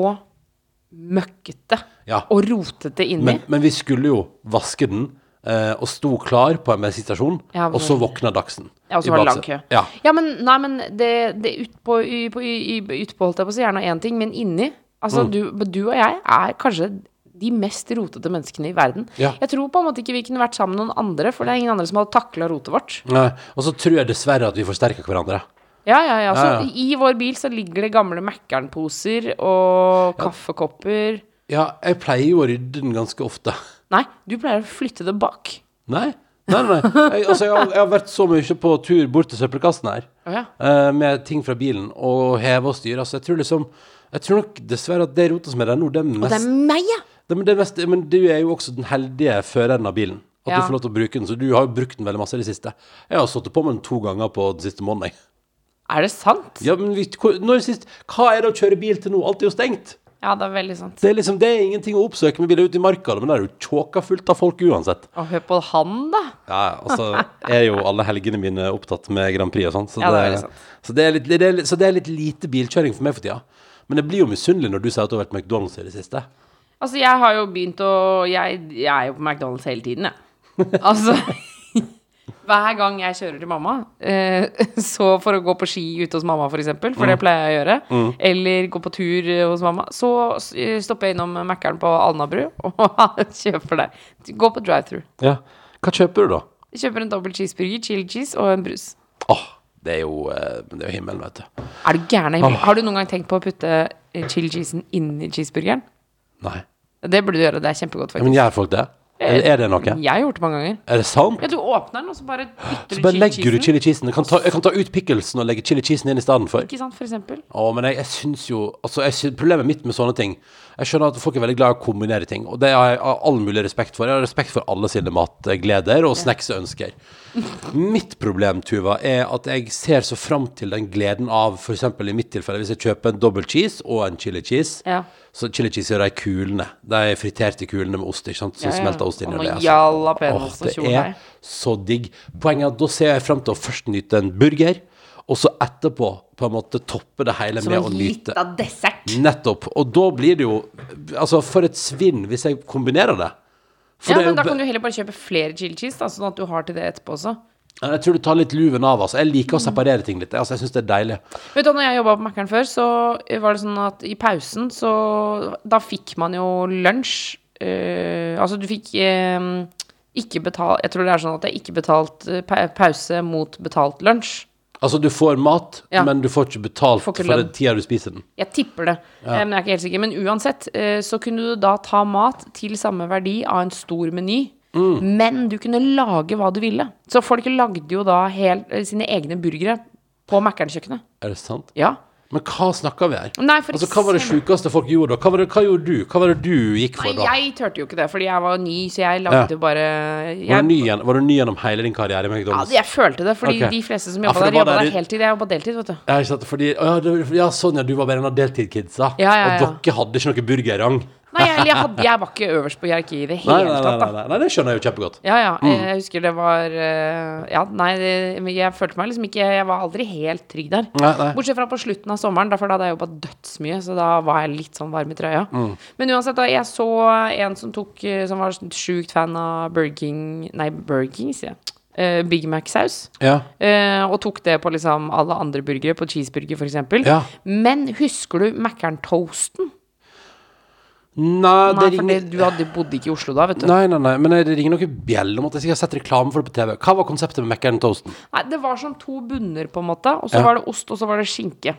Speaker 4: møkkete
Speaker 3: Ja.
Speaker 4: og rotete inni.
Speaker 3: Men, men vi skulle jo vaske den, eh, og sto klar på en bensinstasjon,
Speaker 4: Ja,
Speaker 3: og så
Speaker 4: men-
Speaker 3: våkna Dagsen.
Speaker 4: ja, og
Speaker 3: i
Speaker 4: så var det lang kø.
Speaker 3: baksetet. Ja.
Speaker 4: men, nei, men det, det utpå, i- på- i- i- utpå, holdt jeg på å si, gjerne én ting, men inni Altså,
Speaker 3: Mm.
Speaker 4: du, du og jeg er kanskje de mest rotete menneskene i verden.
Speaker 3: Ja.
Speaker 4: Jeg tror på en måte ikke vi kunne vært sammen med noen andre, for det er ingen andre som hadde takla rotet vårt.
Speaker 3: Nei, Eh, Og så tror jeg dessverre at vi forsterker hverandre.
Speaker 4: Ja, ja, ja. Så
Speaker 3: Ja, ja.
Speaker 4: i vår bil så ligger det gamle Mækkern-poser og kaffekopper
Speaker 3: Ja, jeg pleier jo å rydde den ganske ofte.
Speaker 4: Nei, du pleier å flytte det bak.
Speaker 3: Nei, nei, nei. nei. Jeg, altså, jeg, har, jeg har vært så mye på tur bort til søppelkassen her
Speaker 4: Å ja.
Speaker 3: eh, med ting fra bilen og heve og styre. Altså, jeg tror liksom Jeg tror nok dessverre at det rotet som er der nå, det er
Speaker 4: Og det
Speaker 3: mest,
Speaker 4: er meg, ja!
Speaker 3: det, men det er mest Men du er jo også den heldige føreren av bilen. At
Speaker 4: Ja.
Speaker 3: du får lov til å bruke den. Så du har jo brukt den veldig masse i det siste. Jeg har sittet på med den to ganger på den siste måneden. jeg.
Speaker 4: Er det sant?
Speaker 3: Ja, men vi, hvor- når sist, hva er det å kjøre bil til nå? Alt er jo stengt.
Speaker 4: Ja, det er veldig sant.
Speaker 3: Det er liksom, det er ingenting å oppsøke med biler ute i marka, men det er jo tjåka fullt av folk uansett.
Speaker 4: Og hør på han, da.
Speaker 3: Ja, og så er jo alle helgene mine opptatt med Grand Prix og sånn. Så,
Speaker 4: Ja, det er
Speaker 3: det-
Speaker 4: veldig sant.
Speaker 3: så, det er litt- det er litt- så det er litt lite bilkjøring for meg for tida. Men jeg blir jo misunnelig når du sier at du har vært på McDonald's i det siste.
Speaker 4: Altså, jeg har jo begynt å Jeg, jeg er jo på McDonald's hele tiden, *laughs* jeg. Altså Hver gang jeg kjører til mamma, eh, så for å gå på ski ute hos mamma, f.eks., for, eksempel, for det pleier jeg å gjøre, eller gå på tur eh, hos mamma, så eh, stopper jeg innom Mækkern på Alnabru *laughs* og kjøper det. Gå på drive-thru.
Speaker 3: Ja. Hva kjøper du, da?
Speaker 4: Kjøper en dobbel cheeseburger, chili cheese og en brus.
Speaker 3: Åh, det er jo, eh, det er jo himmelen, vet du.
Speaker 4: Er du gæren? i himmelen? Har du noen gang tenkt på å putte eh, chili cheesen inni cheeseburgeren?
Speaker 3: Nei.
Speaker 4: Det burde du gjøre, det er kjempegodt,
Speaker 3: Ja, men
Speaker 4: faktisk.
Speaker 3: gjør folk det? Er, er det noe?
Speaker 4: Jeg har gjort det mange ganger.
Speaker 3: Er det sant?
Speaker 4: Eh, Ja, du åpner den, og så bare
Speaker 3: Så
Speaker 4: bytter du
Speaker 3: bare legger du
Speaker 4: chili cheesen.
Speaker 3: chili cheesen. Jeg kan ta, jeg kan ta ut pickelsen og legge chili cheesen inn i stedet for.
Speaker 4: Ikke sant, for eksempel.
Speaker 3: Å, men jeg, jeg syns jo altså jeg syns- Problemet mitt med sånne ting Jeg skjønner at folk er veldig glad i å kombinere ting, og det har jeg har all mulig respekt for. Jeg har respekt for alle sine matgleder og snacksønsker. Mitt problem, Tuva, er at jeg ser så fram til den gleden av f.eks. i mitt tilfelle, hvis jeg kjøper en double cheese og en chili cheese,
Speaker 4: Ja.
Speaker 3: så chili cheese er de kulene. De friterte kulene med ost, ikke sant, som
Speaker 4: Ja, ja.
Speaker 3: smelter ost inni
Speaker 4: Og
Speaker 3: det.
Speaker 4: noe
Speaker 3: altså. Åh,
Speaker 4: jalapeños og
Speaker 3: det
Speaker 4: tjo og hei.
Speaker 3: er så digg. Poenget er at da ser jeg frem til å først nyte en burger, og så etterpå på en måte toppe det hele
Speaker 4: Som
Speaker 3: med å
Speaker 4: en
Speaker 3: nyte
Speaker 4: lita dessert.
Speaker 3: Nettopp. Og da blir det jo Altså, for et svinn hvis jeg kombinerer det. For
Speaker 4: Ja,
Speaker 3: det er
Speaker 4: men
Speaker 3: jo
Speaker 4: da
Speaker 3: be-
Speaker 4: kan du heller bare kjøpe flere chili cheese, da, sånn at du har til det etterpå også.
Speaker 3: Ja, Jeg tror du tar litt luven av, altså. Jeg liker å
Speaker 4: Mm.
Speaker 3: separere ting litt. Altså, jeg syns det er deilig.
Speaker 4: Vet du, når jeg jobba på Mækkern før, så var det sånn at i pausen så Da fikk man jo lunsj. eh, altså, du fikk eh, ikke betalt Jeg tror det er sånn at det er ikke betalt eh, pa pause mot betalt lunsj.
Speaker 3: Altså, du får mat,
Speaker 4: Ja.
Speaker 3: men du får ikke betalt
Speaker 4: Får ikke
Speaker 3: for
Speaker 4: lønn.
Speaker 3: den tida du spiser den.
Speaker 4: Jeg tipper det, eh, men jeg er ikke helt sikker. Men uansett, eh, så kunne du da ta mat til samme verdi av en stor meny.
Speaker 3: Mm.
Speaker 4: Men du kunne lage hva du ville. Så folk lagde jo da helt, eh, sine egne burgere på Mækkern-kjøkkenet.
Speaker 3: Er det sant?
Speaker 4: Ja.
Speaker 3: Men hva snakker vi her?
Speaker 4: Nei, for
Speaker 3: altså, hva var det
Speaker 4: eksempel-
Speaker 3: sjukeste folk gjorde, da? Hva, var det, hva gjorde du? Hva var det du gikk for,
Speaker 4: Nei,
Speaker 3: da?
Speaker 4: jeg turte jo ikke det, fordi jeg var ny, så jeg lagde
Speaker 3: Ja.
Speaker 4: jo bare
Speaker 3: Var du,
Speaker 4: jeg,
Speaker 3: ny, igjen- var du ny gjennom hele din karriere i
Speaker 4: ja,
Speaker 3: McDonald's?
Speaker 4: jeg følte det, fordi
Speaker 3: Ok.
Speaker 4: de fleste som
Speaker 3: Ja,
Speaker 4: jobba
Speaker 3: for det
Speaker 4: der,
Speaker 3: var
Speaker 4: jobba
Speaker 3: der
Speaker 4: der
Speaker 3: du-
Speaker 4: heltid. Jeg jobba deltid, vet du.
Speaker 3: Ja, ikke sant? Fordi, å, ja, det, ja, sånn ja, du var bare en av deltidkidsa.
Speaker 4: Ja, ja, ja.
Speaker 3: Og dere hadde ikke noe burgerrang.
Speaker 4: Nei, jeg, eller jeg,
Speaker 3: *laughs*
Speaker 4: hadde, jeg var ikke øverst på hierarkiet i det
Speaker 3: Nei,
Speaker 4: hele
Speaker 3: nei, nei,
Speaker 4: tatt, da.
Speaker 3: nei, nei, nei, det skjønner jeg jo kjempegodt.
Speaker 4: Ja, ja. Jeg husker det var eh, Ja, nei, det, men jeg følte meg liksom ikke Jeg var aldri helt trygg der.
Speaker 3: Nei, nei.
Speaker 4: Bortsett fra på slutten av sommeren, derfor da hadde jeg jobba dødsmye, så da var jeg litt sånn varm i trøya.
Speaker 3: Mm.
Speaker 4: Men uansett, da, jeg så en som tok eh, Som var sånn sjukt fan av Burger King Nei, Burger King, sier jeg. Eh, Big Mac-saus.
Speaker 3: Ja.
Speaker 4: Eh, og tok det på liksom alle andre burgere, på cheeseburger f.eks.
Speaker 3: Ja.
Speaker 4: Men husker du Mækkern-toasten?
Speaker 3: Nei,
Speaker 4: Nei,
Speaker 3: det
Speaker 4: for
Speaker 3: ringer...
Speaker 4: det- du hadde, bodde ikke i Oslo da, vet du.
Speaker 3: Nei, nei, nei, men det ringer noen bjeller om at jeg sikkert har sett reklame for det på TV. Hva var konseptet med Mækkern Toasten?
Speaker 4: Nei, det var som to bunner, på en måte. Og så
Speaker 3: Ja.
Speaker 4: var det ost, og så var det skinke.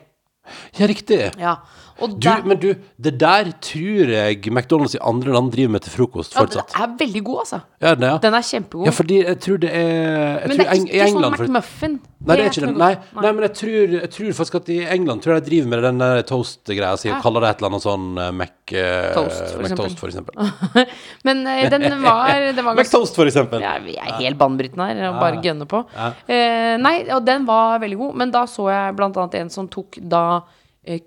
Speaker 3: Ja, riktig.
Speaker 4: Ja. Og
Speaker 3: Du,
Speaker 4: det-
Speaker 3: men du, det der tror jeg McDonald's i andre land driver med til frokost
Speaker 4: ja, den
Speaker 3: fortsatt.
Speaker 4: er veldig god, altså.
Speaker 3: Ja, det, ja.
Speaker 4: Den er kjempegod.
Speaker 3: ja fordi jeg tror det er jeg tror
Speaker 4: men det er
Speaker 3: Eng- i
Speaker 4: ikke
Speaker 3: England,
Speaker 4: sånn
Speaker 3: for-
Speaker 4: McMuffin.
Speaker 3: Nei, det er ikke det.
Speaker 4: noe
Speaker 3: Nei,
Speaker 4: godt.
Speaker 3: nei men jeg tror, jeg tror faktisk at i England tror jeg de driver med den der toast-greia si og kaller det et eller annet sånn eh, Mac... eh,
Speaker 4: Toast, for
Speaker 3: McToast, for eksempel.
Speaker 4: *laughs* Men eh, den
Speaker 3: *laughs*
Speaker 4: var, den var ganske
Speaker 3: McToast, for eksempel.
Speaker 4: ja, Vi er helt banebrytende her, og bare gønne på. Eh, nei, og den var veldig god, men da så jeg blant annet en som tok da eh,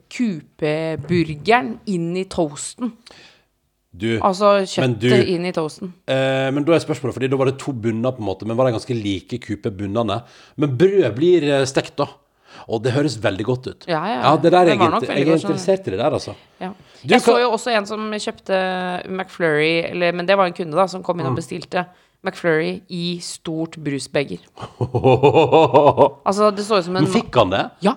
Speaker 4: kupeburgeren inn i toasten.
Speaker 3: Du,
Speaker 4: Altså
Speaker 3: Men
Speaker 4: kjøttet
Speaker 3: du-
Speaker 4: inn i toasten.
Speaker 3: eh, men da er spørsmålet, fordi da var det to bunner på en måte, men var det ganske like kupe bunnene. Men brød blir eh, stekt da, og det høres veldig godt ut.
Speaker 4: Ja, ja, ja.
Speaker 3: det der er
Speaker 4: Det
Speaker 3: jeg,
Speaker 4: var nok
Speaker 3: inter-
Speaker 4: veldig
Speaker 3: jeg er
Speaker 4: godt, skjønner
Speaker 3: interessert i det der,
Speaker 4: *laughs*
Speaker 3: altså.
Speaker 4: Ja.
Speaker 3: Du
Speaker 4: jeg
Speaker 3: kan-
Speaker 4: så jo også en som kjøpte McFlurry, eller, men det var en kunde da, som
Speaker 3: Mm.
Speaker 4: kom inn og bestilte McFlurry i stort brusbeger. Altså, det så ut som en
Speaker 3: Men fikk han det?
Speaker 4: Ja.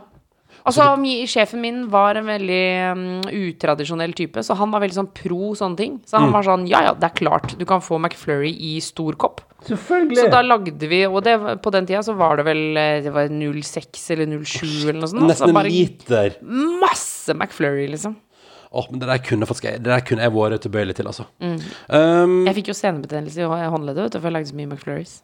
Speaker 4: Altså, mi- sjefen min var en veldig mm, utradisjonell type, så han var veldig sånn pro sånne ting. Så
Speaker 3: Mm.
Speaker 4: han var sånn Ja, ja, det er klart, du kan få McFlurry i stor kopp.
Speaker 3: Selvfølgelig.
Speaker 4: Så da lagde vi, og det, på den tida så var det vel eh, Det var 06 eller 07 eller noe sånt.
Speaker 3: Nesten
Speaker 4: altså,
Speaker 3: en
Speaker 4: bare
Speaker 3: liter.
Speaker 4: masse McFlurry, liksom.
Speaker 3: Åh, men det der kunne faktisk jeg, det der kunne jeg vært tilbøyelig til, altså.
Speaker 4: Mm.
Speaker 3: Um,
Speaker 4: Jeg fikk jo senebetennelse i hå- håndleddet, vet du, for jeg lagde så mye McFlurries.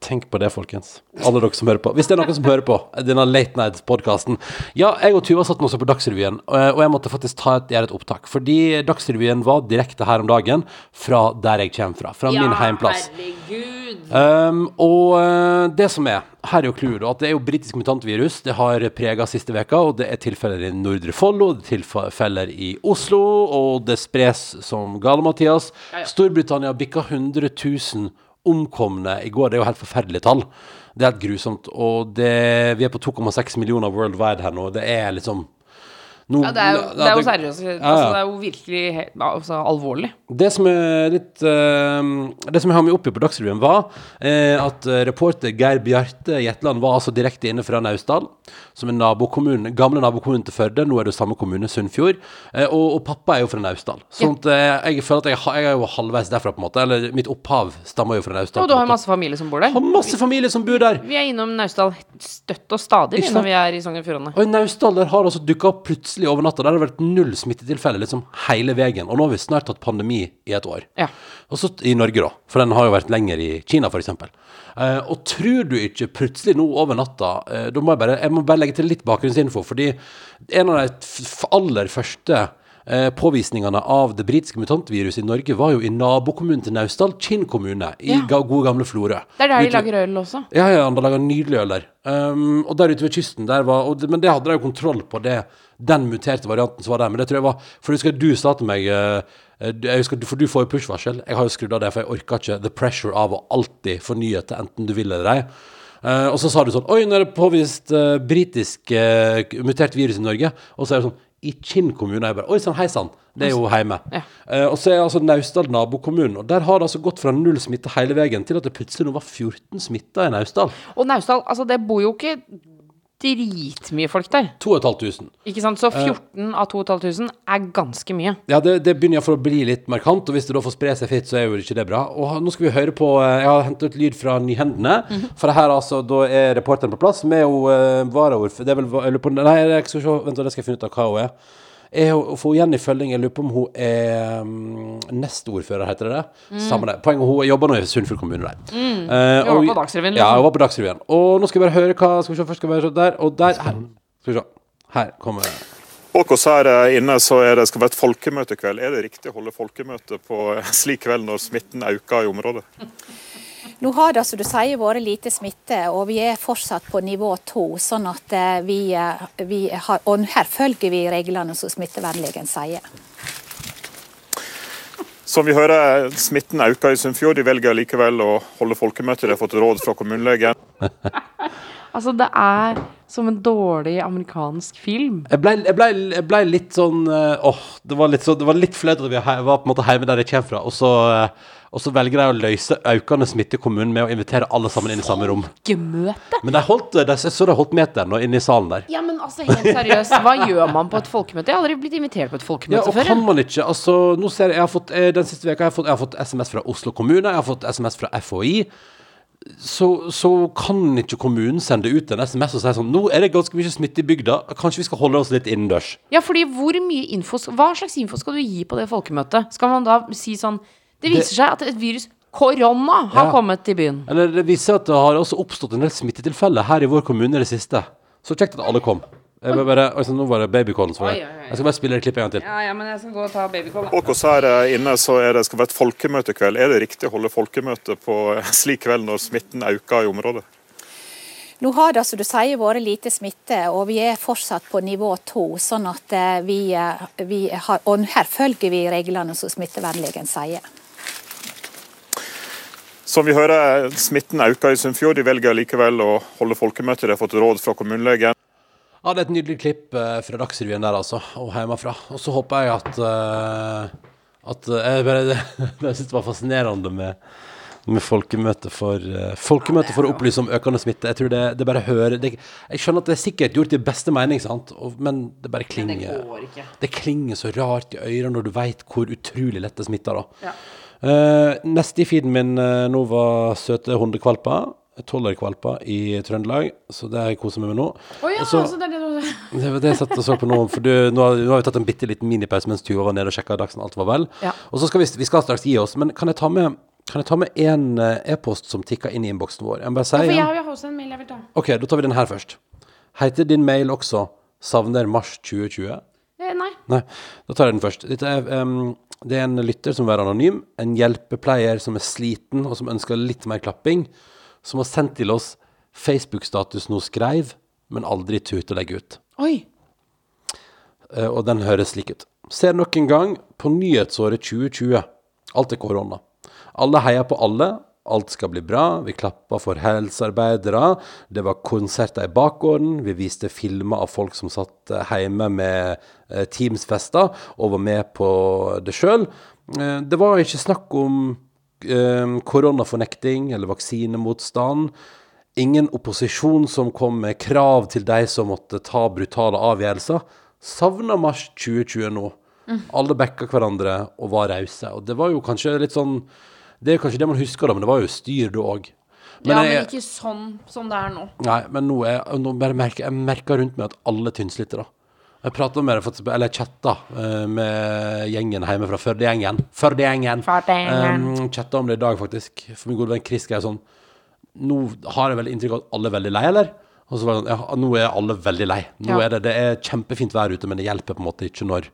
Speaker 3: Tenk på det, folkens. Alle dere som hører på. Hvis det er noen som hører på denne Late Night-podkasten Ja, jeg og Tuva satt nå også på Dagsrevyen, og og jeg måtte faktisk ta et, gjøre et opptak. Fordi Dagsrevyen var direkte her om dagen fra der jeg kommer fra. Fra min heimplass.
Speaker 4: herregud.
Speaker 3: Um, og eh, det som er, her er jo clouet, da, at det er jo britisk mutantvirus. Det har prega siste veka, og det er tilfeller i Nordre Follo, det er tilfeller i Oslo, og det spres som gale, Mathias. Storbritannia bikka 100 000 omkomne i går. Det er jo helt forferdelige tall. Det er helt grusomt. Og det, vi er på 2,6 millioner worldwide her nå. Det er liksom nå-
Speaker 4: Ja, det er jo,
Speaker 3: ja,
Speaker 4: det er jo seriøst.
Speaker 3: ja,
Speaker 4: Altså,
Speaker 3: ja.
Speaker 4: det er jo virkelig he- altså, alvorlig.
Speaker 3: Det som er litt eh, Det som jeg har meg oppi på Dagsrevyen, var eh, at eh, reporter Geir Bjarte Jetland var altså direkte inne fra Naustdal, som er nabokommunen, gamle nabokommunen til Førde. Nå er det jo samme kommune, Sunnfjord. Eh, og, og pappa er jo fra Naustdal. Sånn at eh, jeg føler at jeg, ha- jeg er jo halvveis derfra, på en måte. Eller mitt opphav stammer jo fra Naustdal.
Speaker 4: Og du
Speaker 3: på
Speaker 4: har
Speaker 3: en
Speaker 4: jo
Speaker 3: måte.
Speaker 4: masse familie som bor der.
Speaker 3: har masse familie som bor der.
Speaker 4: Vi er innom Naustdal støtt og stadig
Speaker 3: Ikke
Speaker 4: vi,
Speaker 3: sant?
Speaker 4: når vi er i Sogn og Fjordane.
Speaker 3: Og i Naustdal der har det altså dukka opp plutselig over natta. Der har det vært null smittetilfeller liksom hele veien. Og nå har vi snart hatt pandemi i et år.
Speaker 4: Ja.
Speaker 3: Og så i Norge, da. For den har jo vært lenger i Kina, f.eks. Eh, og tror du ikke plutselig nå over natta eh, Da må jeg bare, jeg må bare legge til litt bakgrunnsinfo, fordi en av de f- f- aller første eh, påvisningene av det britiske mutantviruset i Norge var jo i nabokommunen til Naustdal, Kinn kommune, i
Speaker 4: Ja.
Speaker 3: ga, gode gamle Florø.
Speaker 4: Det er der de
Speaker 3: Ute-
Speaker 4: lager øl også.
Speaker 3: ja, ja, han laga nydelig øl der. Um, og der ute ved kysten der var og, det- Men det hadde de jo kontroll på, det, den muterte varianten som var der. Men det tror jeg var For husker du sa til meg eh, eh, du- jeg husker, For du får jo push-varsel. Jeg har jo skrudd av det, for jeg orka ikke the pressure av å alltid få nyheter, enten du vil eller ei. Eh, og så sa du sånn Oi, nå er det påvist eh, britisk eh, mutert virus i Norge. Og så er det sånn i Kinn kommune. Jeg bare Oi sann, hei sann. Det er jo heime.
Speaker 4: Ja.
Speaker 3: Eh, og så er altså Naustdal nabokommunen. Og der har det altså gått fra null smitte hele veien til at det plutselig nå var 14 smitta i Naustdal.
Speaker 4: Og Naustdal, altså det bor jo ikke dritmye folk der.
Speaker 3: 2500.
Speaker 4: Ikke
Speaker 3: Eh.
Speaker 4: sant? Så 14 av 2500 er ganske mye.
Speaker 3: Ja, det, det begynner iallfall å bli litt markant, og hvis det da får spre seg fritt, så er jo ikke det bra. Og ha- nå skal vi høre på eh, Jeg har hentet ut lyd fra Nyhendene.
Speaker 4: Mhm.
Speaker 3: For det her altså, da er reporteren på plass, med jo eh, varaord Det er vel va- jeg lurer på, Nei, jeg skal se, vent, da, det skal jeg finne ut av hva hun er. Er hun, for Jenny Følling, jeg lurer på om hun er mm, nestordfører, heter det det? Samme det. Poenget hun jobber nå i Sunnfjord kommune der. Eh,
Speaker 4: Mm. Hun var
Speaker 3: og-
Speaker 4: på Dagsrevyen,
Speaker 3: Ja,
Speaker 4: liksom.
Speaker 3: hun var på Dagsrevyen. Og nå skal vi bare høre hva Skal vi se, først skal vi høre der, og der her, Skal vi se. Her kommer det.
Speaker 5: Bak oss her eh, inne så er det, skal være et folkemøtekveld. Er det riktig å holde folkemøte på en slik kveld når smitten øker i området?
Speaker 6: Nå har det som du sier vært lite smitte, og vi er fortsatt på nivå to. Sånn at eh, vi, eh, vi har Og her følger vi reglene som smittevernlegen sier.
Speaker 5: Som vi hører, smitten øker i Sunnfjord. De velger likevel å holde folkemøte. De har fått råd fra kommunelegen.
Speaker 4: Altså, det er som en dårlig amerikansk film.
Speaker 3: Jeg ble, jeg, ble, jeg ble litt sånn eh, Åh, det var litt, sånn- det var litt flaut at vi he- var på en måte hjemme der jeg kommer fra, og så, eh, og så velger de å løse økende smitte i kommunen med å invitere alle sammen inn i samme rom.
Speaker 4: Gemøte!
Speaker 3: Men de holdt, de, jeg så de holdt meteren nå, inne i salen der.
Speaker 4: Ja, men altså, helt seriøst, hva gjør man på et folkemøte? Jeg har aldri blitt invitert på et
Speaker 3: Ja,
Speaker 4: folkemøte
Speaker 3: og
Speaker 4: før.
Speaker 3: kan
Speaker 4: jeg.
Speaker 3: man ikke Altså, nå ser jeg, jeg har fått, eh, Den siste veka har jeg fått, jeg har fått SMS fra Oslo kommune, jeg har fått SMS fra FHI. Så, så kan ikke kommunen sende ut en SMS og si sånn Nå er det ganske mye smitte i bygda, kanskje vi skal holde oss litt innendørs.
Speaker 4: Ja, fordi hvor mye info Hva slags info skal du gi på det folkemøtet? Skal man da si sånn Det viser seg at et virus, korona, har
Speaker 3: Ja.
Speaker 4: kommet til byen.
Speaker 3: Eller det viser at det har også oppstått en del smittetilfeller her i vår kommune i det siste. Så kjekt at alle kom. Jeg vil bare, altså, nå var det babycallen som var
Speaker 4: Oi,
Speaker 3: der.
Speaker 4: oi, oi.
Speaker 3: Jeg skal bare spille det klippet en gang til.
Speaker 4: Ja, ja, men jeg skal gå og ta babycall.
Speaker 5: Bak oss her eh, inne så er det, skal være et folkemøtekveld. Er det riktig å holde folkemøte på en slik kveld når smitten øker i området?
Speaker 6: Nå har det som du sier vært lite smitte, og vi er fortsatt på nivå to. Sånn at eh, vi, eh, vi har, og her følger vi reglene som smittevernlegen sier.
Speaker 5: Som vi hører, smitten øker i Sunnfjord. De velger likevel å holde folkemøte. De har fått råd fra kommunelegen.
Speaker 3: Ja, det er et nydelig klipp eh, fra Dagsrevyen der, altså, og hjemmefra. Og så håper jeg at eh, At eh, jeg bare *laughs* Jeg syns det var fascinerende med med folkemøte for eh, Folkemøte for å opplyse om økende smitte. Jeg tror det, det bare hører det, Jeg skjønner at det er sikkert gjort i beste mening, sant? Og, men det bare klinger
Speaker 4: går ikke.
Speaker 3: det klinger så rart i ørene når du veit hvor utrolig lett det smitter, da.
Speaker 4: Ja.
Speaker 3: Eh, neste i feeden min eh, nå var søte hundekvalper. Tollerkvalper i Trøndelag, så det har jeg kosa meg med nå.
Speaker 4: Å ja,
Speaker 3: Og så-
Speaker 4: så det er det du
Speaker 3: det var det jeg satt og så på nå. For du, nå, har, nå har vi tatt en bitte liten minipause mens Tuva var nede og sjekka Dagsnytt alt var vel.
Speaker 4: Ja.
Speaker 3: Og så skal vi, vi skal straks gi oss. Men kan jeg ta med Kan jeg ta med en eh, e-post som tikka inn i innboksen vår? Jeg må bare si
Speaker 4: For jeg
Speaker 3: igjen.
Speaker 4: har jo også en mail jeg vil ta.
Speaker 3: OK, da tar vi den her først. Heter din mail også 'Savner mars 2020'?
Speaker 4: Eh, nei.
Speaker 3: Nei, da tar jeg den først. Dette er, em, det er en lytter som vil være anonym, en hjelpepleier som er sliten og som ønsker litt mer klapping, som har sendt til oss Facebook-status nå skreiv, men aldri tut å legge ut.
Speaker 4: Oi.
Speaker 3: Eh, og den høres slik ut. Ser nok en gang på nyhetsåret 2020. Alt er korona. Alle heier på alle. Alt skal bli bra. Vi klappa for helsearbeidere. Det var konserter i bakgården. Vi viste filmer av folk som satt eh, hjemme med eh, Teams-fester og var med på det sjøl. Eh, Det var ikke snakk om eh, koronafornekting eller vaksinemotstand. Ingen opposisjon som kom med krav til de som måtte ta brutale avgjørelser. Savna mars 2020 nå. Alle backa hverandre og var rause. Og det var jo kanskje litt sånn Det er kanskje det man husker, da, men det var jo styr da òg.
Speaker 4: ja, men
Speaker 3: jeg-
Speaker 4: ikke sånn som det er nå.
Speaker 3: Nei, men nå, er, nå bare merker jeg merker rundt meg at alle tynnsliter, da. Jeg prater med det, for, eksempel- eller chatta eh, med gjengen hjemme fra Førdegjengen. Førdegjengen!
Speaker 4: Førdegjengen.
Speaker 3: Um, chatta om det i dag, faktisk. For min gode venn Chris er sånn Nå har jeg vel inntrykk av at alle er veldig lei, eller? Og så var det sånn, ja, nå er alle veldig lei. Nå
Speaker 4: Ja.
Speaker 3: er det, det er kjempefint vær ute, men det hjelper på en måte ikke når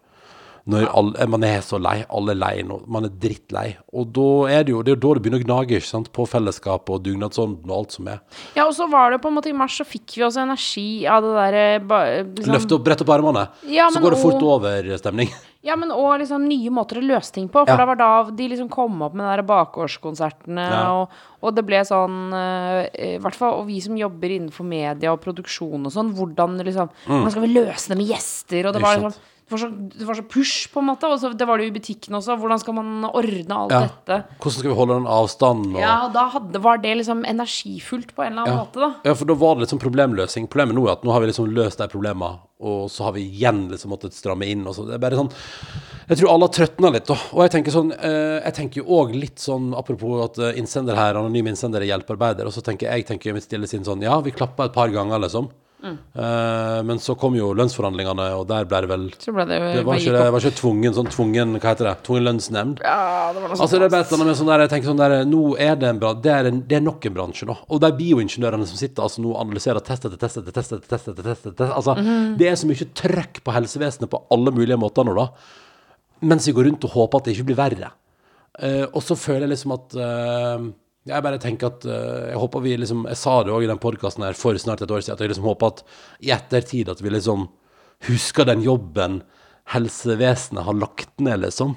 Speaker 3: når alle, eh, man er så lei, alle er lei nå, man er drittlei. Og da er det jo, det er jo da det begynner å gnage, ikke sant, på fellesskapet og dugnadsånden og alt som er.
Speaker 4: Ja, og så var det på en måte i mars, så fikk vi også energi av det derre ba- liksom,
Speaker 3: Løft opp, brett opp armene.
Speaker 4: Ja,
Speaker 3: så
Speaker 4: men
Speaker 3: går det fort
Speaker 4: og-
Speaker 3: over stemning.
Speaker 4: Ja, men òg liksom nye måter å løse ting på. For
Speaker 3: Ja.
Speaker 4: da var da de liksom kom opp med de der bakgårdskonsertene,
Speaker 3: Ja.
Speaker 4: og, og det ble sånn eh, I hvert fall og vi som jobber innenfor media og produksjon og sånn, hvordan liksom Hvordan skal vi løse det med gjester? Og det var
Speaker 3: Mm. Ikke
Speaker 4: liksom
Speaker 3: sant.
Speaker 4: det var, så, det var så push, på en måte. Og så, det var det jo i butikken også. Hvordan skal man ordne alt
Speaker 3: Ja.
Speaker 4: dette?
Speaker 3: Hvordan skal vi holde den avstanden? Og...
Speaker 4: Ja, og da hadde, var det liksom energifullt på en eller annen måte, da.
Speaker 3: Ja, for da var det liksom problemløsning. Problemet nå er at nå har vi liksom løst de problemene, og så har vi igjen liksom måttet stramme inn. Og så. Det er bare sånn Jeg tror alle har trøtna litt, da. Og jeg tenker sånn eh, Jeg tenker jo òg litt sånn apropos at eh, innsender her, anonym innsender er hjelpearbeider, og så tenker jeg tenker i mitt stille sinn sånn Ja, vi klappa et par ganger, liksom.
Speaker 4: Mm.
Speaker 3: Eh, men så kom jo lønnsforhandlingene, og der ble det vel
Speaker 4: Så ble det,
Speaker 3: Det var ikke, det var ikke tvungen, sånn tvungen Hva heter det? Tvungen lønnsnemnd?
Speaker 4: Ja, det var noe sånt.
Speaker 3: Altså det er bare et eller annet med sånn der, jeg tenker sånn der, Nå er det en bra, det er, en, det er nok en bransje nå. Og de bioingeniørene som sitter altså nå og analyserer test etter test etter test etter test etter test, etter test. Altså,
Speaker 4: Mhm.
Speaker 3: Det er så mye trøkk på helsevesenet på alle mulige måter nå, da. Mens vi går rundt og håper at det ikke blir verre. Eh, og så føler jeg liksom at eh, Jeg bare tenker at eh, Jeg håper vi liksom Jeg sa det òg i den podkasten her for snart et år siden, at jeg liksom håper at i ettertid at vi liksom husker den jobben helsevesenet har lagt ned, liksom.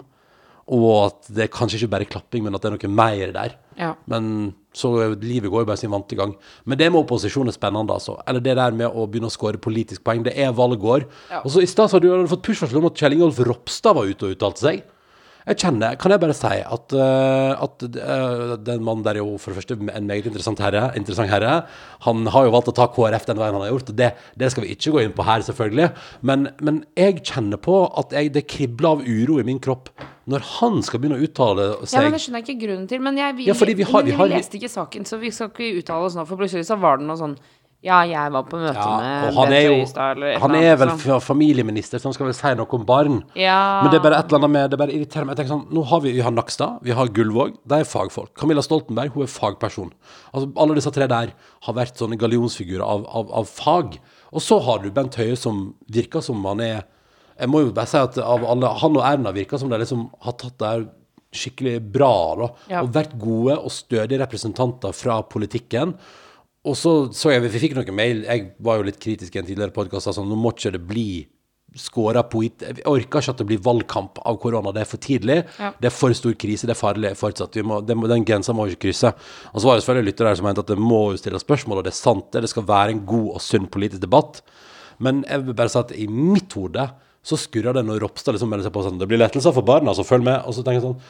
Speaker 3: Og at det kanskje ikke bare er klapping, men at det er noe mer der.
Speaker 4: Ja.
Speaker 3: Men så livet går jo bare sin vante gang. Men det med opposisjon er spennende, altså. Eller det der med å begynne å score politisk poeng. Det er valgår.
Speaker 4: Ja.
Speaker 3: Og så i stad så hadde du hadde fått push-varsel om at Kjell Ingolf Ropstad var ute og uttalte seg. Jeg kjenner, Kan jeg bare si at, eh, at eh, den mannen der er jo for det første en meget interessant herre, interessant herre. Han har jo valgt å ta KrF den veien han har gjort, og det, det skal vi ikke gå inn på her, selvfølgelig. Men, men jeg kjenner på at jeg, det kribler av uro i min kropp når han skal begynne å uttale
Speaker 4: Ja, men
Speaker 3: seg.
Speaker 4: Det skjønner jeg ikke grunnen til. Men jeg, vi,
Speaker 3: Ja, fordi vi har-
Speaker 4: men
Speaker 3: vi har-
Speaker 4: leste ikke saken, så vi skal ikke uttale oss nå. For plutselig så var det noe sånn Ja, jeg var på møte
Speaker 3: Ja,
Speaker 4: med
Speaker 3: og han
Speaker 4: Bent
Speaker 3: er
Speaker 4: Høiestad, eller
Speaker 3: jo
Speaker 4: et
Speaker 3: Han
Speaker 4: eller
Speaker 3: er
Speaker 4: annet liksom.
Speaker 3: vel
Speaker 4: sånt.
Speaker 3: fa- familieminister, så han skal vel si noe om barn.
Speaker 4: Ja.
Speaker 3: Men det er bare et eller annet med Det bare irriterer meg. Jeg tenker sånn, Nå har vi, vi har Nakstad, vi har Gullvåg, de er fagfolk. Camilla Stoltenberg, hun er fagperson. Altså, alle disse tre der har vært sånne gallionsfigurer av, av, av fag. Og så har du Bent Høie, som virker som han er Jeg må jo bare si at av alle Han og Erna virker som de liksom har tatt det her skikkelig bra, da.
Speaker 4: Ja.
Speaker 3: Og vært gode og stødige representanter fra politikken. Og så så jeg vi fikk noen mail. Jeg var jo litt kritisk i en tidligere podkast. Altså, nå må ikke det bli skåra på hit. Jeg orker ikke at det blir valgkamp av korona. Det er for tidlig.
Speaker 4: Ja.
Speaker 3: Det er for stor krise. Det er farlig fortsatt. Vi må, det må, den grensa må vi ikke krysse. Og så var det selvfølgelig lyttere der som mente at det må jo stilles spørsmål, og det er sant. Det Det skal være en god og sunn politisk debatt. Men jeg vil bare si at i mitt hode så skurrer det når Ropstad liksom melder seg på sånn Det blir lettelser for barna, så følg med. Og så tenker jeg sånn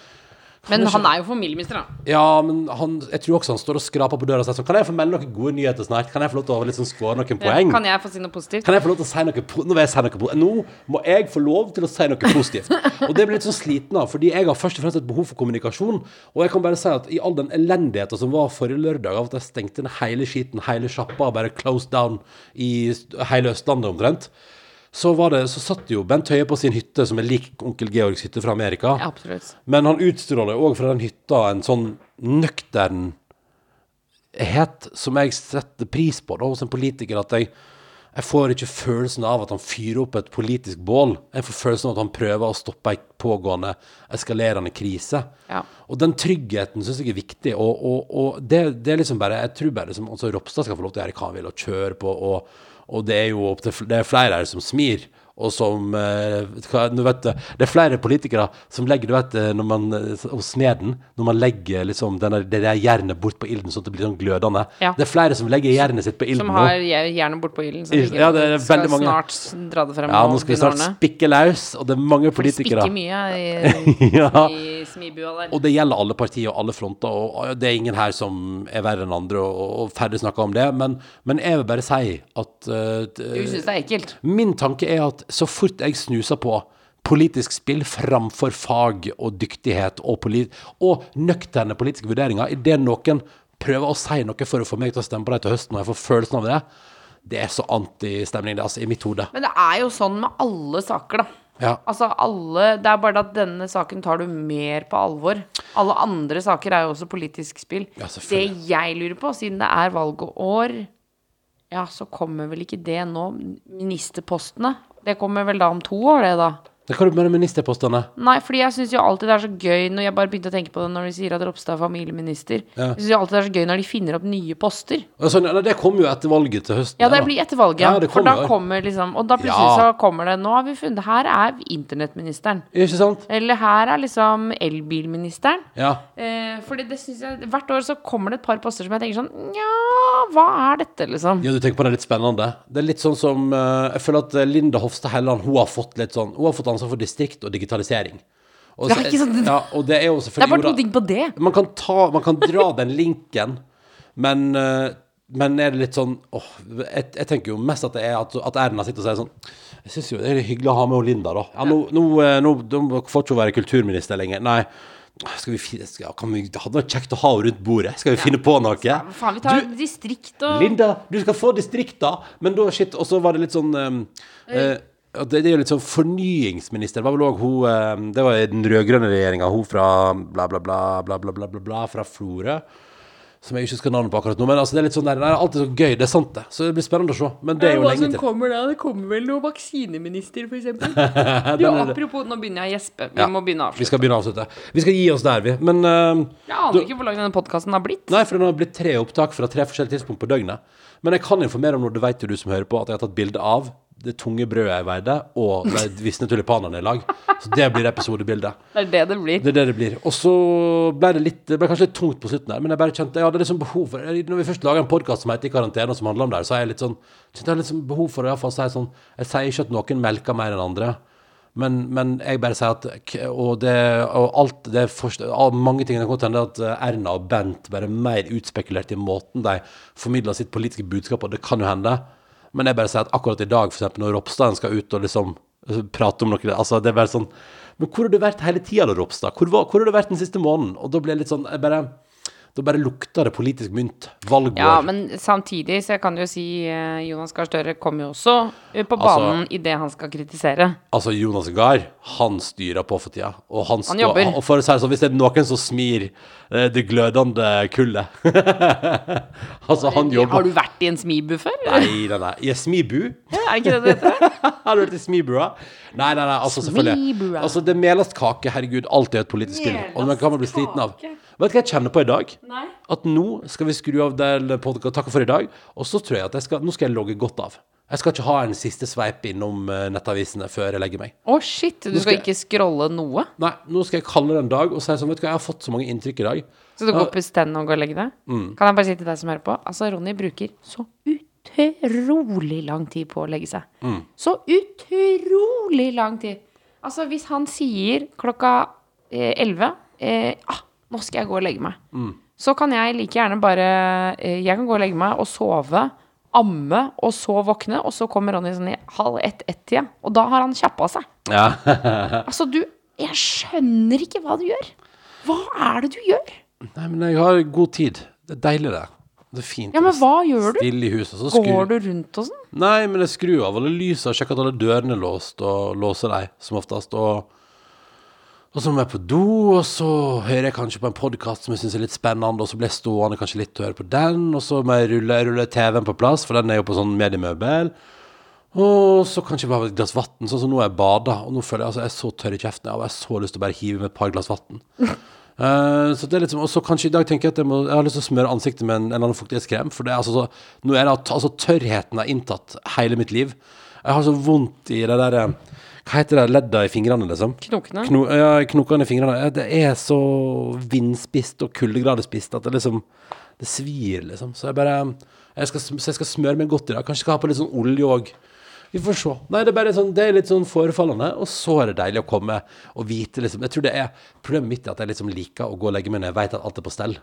Speaker 4: Men han er jo familieminister, da.
Speaker 3: ja, men han, jeg tror også han står og skraper på døra og sier sånn Kan jeg få melde noen gode nyheter snart? Kan jeg få lov til å liksom score noen poeng?
Speaker 4: Kan jeg få si noe positivt?
Speaker 3: Kan jeg få lov til å si noe po- Nå vil jeg si noe po- Nå må jeg få lov til å si noe
Speaker 4: *laughs*
Speaker 3: positivt. Og det blir jeg litt sånn sliten av, fordi jeg har først og fremst et behov for kommunikasjon. Og jeg kan bare si at i all den elendigheten som var forrige lørdag, av at jeg stengte ned hele skiten, hele sjappa, bare closed down i s- hele Østlandet omtrent, så, var det, så satt jo Bent Høie på sin hytte, som er lik onkel Georgs hytte fra Amerika.
Speaker 4: Ja, absolutt.
Speaker 3: Men han utstråler òg fra den hytta en sånn nøkternhet som jeg setter pris på da, hos en politiker. At jeg, jeg får ikke følelsen av at han fyrer opp et politisk bål. Jeg får følelsen av at han prøver å stoppe ei pågående, eskalerende krise.
Speaker 4: Ja.
Speaker 3: Og den tryggheten syns jeg er viktig. Og, og, og det, det er liksom bare Jeg tror bare liksom, altså Ropstad skal få lov til å gjøre hva han vil, og kjøre på. Og, og det er jo opp til, fl- det er flere her som smir. Og som eh, hva- nå vet, du, Det er flere politikere som legger du vet, eh, når man, eh, og smeden Når man legger liksom den der, det der jernet bort på ilden, sånn at det blir sånn glødende.
Speaker 4: Ja.
Speaker 3: Det er flere som legger jernet sitt på ilden
Speaker 4: Som
Speaker 3: nå.
Speaker 4: har jernet bortpå ilden. Som
Speaker 3: Ikke- ja, det er
Speaker 4: skal
Speaker 3: veldig mange.
Speaker 4: snart dra det frem.
Speaker 3: Ja,
Speaker 4: og
Speaker 3: nå skal vi
Speaker 4: begynne å
Speaker 3: snart
Speaker 4: ordne.
Speaker 3: spikke løs, og det er mange
Speaker 4: For det
Speaker 3: politikere.
Speaker 4: Spikker mye i,
Speaker 3: *laughs* Ja.
Speaker 4: i smibua der.
Speaker 3: Og det gjelder alle partier og alle fronter, og det er ingen her som er verre enn andre, og, og færre snakker om det, men, men jeg vil bare si at eh,
Speaker 4: Du syns det er ekkelt?
Speaker 3: Min tanke er at så fort jeg snuser på politisk spill framfor fag og dyktighet og, polit og nøkterne politiske vurderinger, idet noen prøver å si noe for å få meg til å stemme på dem til høsten, og jeg får følelsen av det, det er så antistemning, det, altså, i mitt hode.
Speaker 4: Men det er jo sånn med alle saker, da.
Speaker 3: Ja.
Speaker 4: Altså alle Det er bare det at denne saken tar du mer på alvor. Alle andre saker er jo også politisk spill.
Speaker 3: Ja,
Speaker 4: det
Speaker 3: selvfølgelig.
Speaker 4: jeg lurer på, siden det er valg og år, ja, så kommer vel ikke det nå. Ministerpostene. Det kommer vel da om to år, det, da.
Speaker 3: Det kan du med de ministerpostene.
Speaker 4: Nei, fordi jeg syns jo alltid det er så gøy når jeg bare begynte å tenke på det når de sier at Ropstad er familieminister.
Speaker 3: Ja.
Speaker 4: Jeg syns alltid det er så gøy når de finner opp nye poster.
Speaker 3: Og sånn, nei, det kom jo etter valget til høsten.
Speaker 4: Ja, det
Speaker 3: da.
Speaker 4: blir etter valget.
Speaker 3: Ja, det
Speaker 4: for
Speaker 3: kommer
Speaker 4: da
Speaker 3: jo.
Speaker 4: kommer liksom Og da plutselig
Speaker 3: Ja.
Speaker 4: så kommer det Nå har vi funnet Her er internettministeren.
Speaker 3: Ikke sant?
Speaker 4: Eller her er liksom elbilministeren.
Speaker 3: Ja.
Speaker 4: Eh, fordi det synes jeg Hvert år så kommer det et par poster som jeg tenker sånn Nja, hva er dette, liksom?
Speaker 3: Ja, du tenker på det litt spennende. Det er litt sånn som eh, Jeg føler at eh, Linda Hofstad Helleland hun har fått litt sånn Hun har fått ansvar for distrikt og digitalisering. Og,
Speaker 4: Ja, ikke sant?
Speaker 3: Ja, og det er jo
Speaker 4: Det er
Speaker 3: selvfølgelig
Speaker 4: bare to ting på det.
Speaker 3: man kan, ta, man kan dra den linken, men, eh, men er det litt sånn åh, jeg, jeg tenker jo mest at det er at, at Erna sitter og sier sånn Jeg syns jo det er hyggelig å ha med hun Linda, da. Ja, nå, nå, eh, nå, nå får ikke hun være kulturminister lenger. Nei. Skal vi, fi- skal, kan vi, det hadde vært kjekt å ha henne rundt bordet. Skal vi finne på noe?
Speaker 4: Faen, vi tar
Speaker 3: Du-
Speaker 4: distrikt og
Speaker 3: Linda, du skal få distrikta, men da shit, og så var det litt sånn ehm, eh, at det, det er jo litt sånn fornyingsminister, var vel også hun, ehm, det var i den rødgrønne regjeringen, hun fra bla bla bla bla bla bla bla bla fra Flore, som jeg ikke skal navnet på akkurat nå, men altså det er litt sånn der, det er alltid så gøy, det er sant det, så det blir spennende å se, men det er jo lenge til.
Speaker 4: kommer da? Det kommer vel noen vaksineminister,
Speaker 3: *laughs*
Speaker 4: for eksempel? Du,
Speaker 3: Den er det.
Speaker 4: apropos, nå begynner jeg å gjespe. Vi
Speaker 3: Ja,
Speaker 4: må begynne å
Speaker 3: Vi
Speaker 4: avslutte.
Speaker 3: skal begynne å avslutte. Vi skal gi oss der, vi. Men ehm,
Speaker 4: Jeg aner ikke hvor lang denne podkasten har blitt.
Speaker 3: Nei, for den har blitt tre opptak fra tre forskjellige tidspunkt på døgnet. Men jeg kan informere om når du vet jo du som hører på, at jeg har tatt bilde av det tunge brødet jeg veide, og de visne tulipanene i lag. Så det blir episodebildet.
Speaker 4: Det er det det blir.
Speaker 3: Det er det det blir. Og så ble det litt Det ble kanskje litt tungt på slutten her, men jeg bare kjente Jeg hadde liksom behov for Når vi først lager en podkast som heter I karantene, og som handler om det her, så er jeg litt sånn kjente Jeg har liksom behov for å i hvert fall si sånn Jeg sier ikke at noen melker mer enn andre. Men, men jeg bare sier at k- Og det og alt det forst- av Mange ting det kan godt hende at eh, Erna og Bent bare er mer utspekulert i måten de formidler sitt politiske budskap, og det kan jo hende. Men jeg bare sier at akkurat i dag, for eksempel, når Ropstad skal ut og liksom eh, prate om noe Altså, det er bare sånn men hvor har du vært hele tida, da, Ropstad? Hvor, var, hvor har du vært den siste måneden? Og da ble jeg litt sånn jeg bare, Da bare lukta det politisk mynt. Valgår.
Speaker 4: Ja, men samtidig så jeg kan jo si eh, Jonas Gahr Støre kommer jo også eh, på banen i det han skal kritisere.
Speaker 3: Altså, Jonas Gahr, han styrer på for tida. Og han, står-
Speaker 4: jobber.
Speaker 3: Og for å si det sånn, hvis det er noen som smir eh, det glødende kullet *laughs* Altså, han
Speaker 4: Har
Speaker 3: jobber.
Speaker 4: du vært i en smibu før? eller?
Speaker 3: Nei, nei, nei. I en smibu?
Speaker 4: Er ikke det det heter?
Speaker 3: *laughs* Har du hørt i smibua? Nei, nei, nei, altså selvfølgelig.
Speaker 4: Smibua.
Speaker 3: Altså, det er melast kake, herregud, alltid et politisk spill. Og den kan man bli sliten av. Vet du hva jeg kjenner på i dag?
Speaker 4: Nei.
Speaker 3: At nå skal vi skru av del podkast, takk for i dag, og så tror jeg at jeg skal, nå skal jeg logge godt av. Jeg skal ikke ha en siste sveip innom eh, nettavisene før jeg legger meg.
Speaker 4: Å, shit. Du
Speaker 3: skal
Speaker 4: skal
Speaker 3: jeg-
Speaker 4: ikke scrolle noe?
Speaker 3: Nei, nå skal jeg kalle det en dag og si sånn, vet du hva, jeg har fått så mange inntrykk i dag.
Speaker 4: Så du går opp i stand og går og legger deg? Kan jeg bare si til deg som hører på, altså Ronny bruker så utrolig lang tid på å legge seg. Så utrolig lang tid! Altså hvis han sier klokka eh, 11 eh, ah, nå skal jeg gå og legge meg. Så kan jeg like gjerne bare eh, Jeg kan gå og legge meg og sove, amme, og så våkne, og så kommer Ronny sånn i halv ett-ett-tida, og da har han kjappa seg.
Speaker 3: Ja.
Speaker 4: Altså du Jeg skjønner ikke hva du gjør. Hva er det du gjør?
Speaker 3: Nei, men jeg har god tid. Det er deilig, det. Det er fint.
Speaker 4: Ja, men hva gjør du?
Speaker 3: Stille i huset, så skrur
Speaker 4: Går du rundt og sånn?
Speaker 3: Nei, men jeg skrur av alle lysene og sjekker at alle dørene er låst, og låser dem som oftest. Og, og så må jeg på do, og så hører jeg kanskje på en podkast som jeg syns er litt spennende, og så blir jeg stående kanskje litt og høre på den, og så må jeg rulle, rulle TV-en på plass, for den er jo på sånn mediemøbel. Og så kanskje bare et glass vann, sånn som nå har jeg bada, og nå føler jeg altså, jeg er så tørr i kjeften, og jeg har så lyst til å bare hive med et par glass vann. Eh, så det er litt som, og så kanskje i dag tenker jeg at jeg, må, jeg har lyst til å smøre ansiktet med en, en eller annen fuktighetskrem. For det er altså så, nå er det at- altså tørrheten har inntatt hele mitt liv. Jeg har så vondt i det der eh, Hva heter det ledda i fingrene, liksom?
Speaker 4: Knokene?
Speaker 3: Kno, ja, knokene i fingrene. Ja, Det er så vindspist og kuldegradespist at det liksom Det svir, liksom. Så jeg bare jeg skal, sm- Så jeg skal smøre meg godt i dag. Kanskje jeg skal ha på litt sånn olje òg. Vi får se. Nei, det er bare sånn, det er litt sånn forefallende, og så er det deilig å komme og vite liksom Jeg tror det er Problemet mitt er at jeg liksom liker å gå og legge meg når jeg vet at alt er på stell.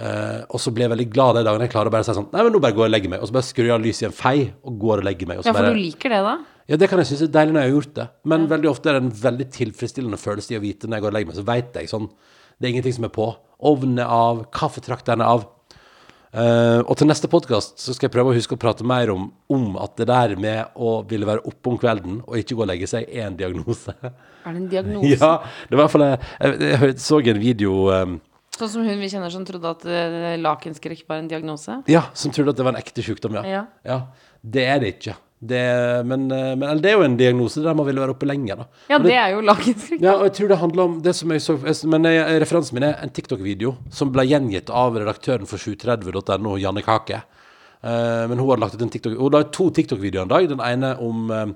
Speaker 3: Eh, og så blir jeg veldig glad de dagene jeg klarer å bare si sånn Nei, men nå bare går jeg og legger meg. Og så bare skrur jeg av lyset i en fei og går og legger meg. Og så
Speaker 4: Ja, for
Speaker 3: bare,
Speaker 4: du liker det, da?
Speaker 3: ja, det kan jeg synes er deilig når jeg har gjort det. Men veldig ofte er det en veldig tilfredsstillende følelse i å vite når jeg går og legger meg, så vet jeg sånn Det er ingenting som er på. Ovnen er av, kaffetrakteren er av. Eh, og til neste podkast så skal jeg prøve å huske å prate mer om, om at det der med å ville være oppe om kvelden og ikke gå og legge seg, er en diagnose.
Speaker 4: Er det en
Speaker 3: *laughs*
Speaker 4: diagnose?
Speaker 3: ja, det var i hvert fall Jeg, jeg, jeg hørte- så en video eh,
Speaker 4: Sånn som hun vi kjenner som trodde at eh, lakenskrekk var en diagnose?
Speaker 3: Ja, som trodde at det var en ekte sykdom, ja.
Speaker 4: Ja.
Speaker 3: det er det ikke. Det, men, eh, men eller det er jo en diagnose der man vil være oppe lenger, da.
Speaker 4: Ja, det er jo lakenskrekk.
Speaker 3: Ja, og jeg tror det handler om det som jeg så Men jeg, referansen min er en TikTok-video som ble gjengitt av redaktøren for 730.no, Janne Kake. Eh, men hun hadde lagt ut en TikTok Hun la ut to TikTok-videoer en dag. Den ene om eh,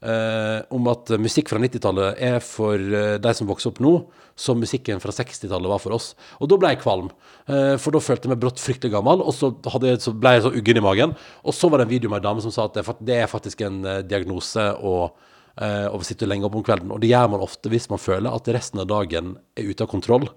Speaker 3: eh, om at musikk fra 90-tallet er for eh, de som vokser opp nå, som musikken fra 60-tallet var for oss. Og da ble jeg kvalm, eh, for da følte jeg meg brått fryktelig gammel, og så, hadde jeg, så ble jeg så uggen i magen. Og så var det en video med ei dame som sa at det, er fakt- det er faktisk en eh, diagnose og eh, og sitte lenge opp om kvelden. Og det gjør man ofte hvis man føler at resten av dagen er ute av kontroll.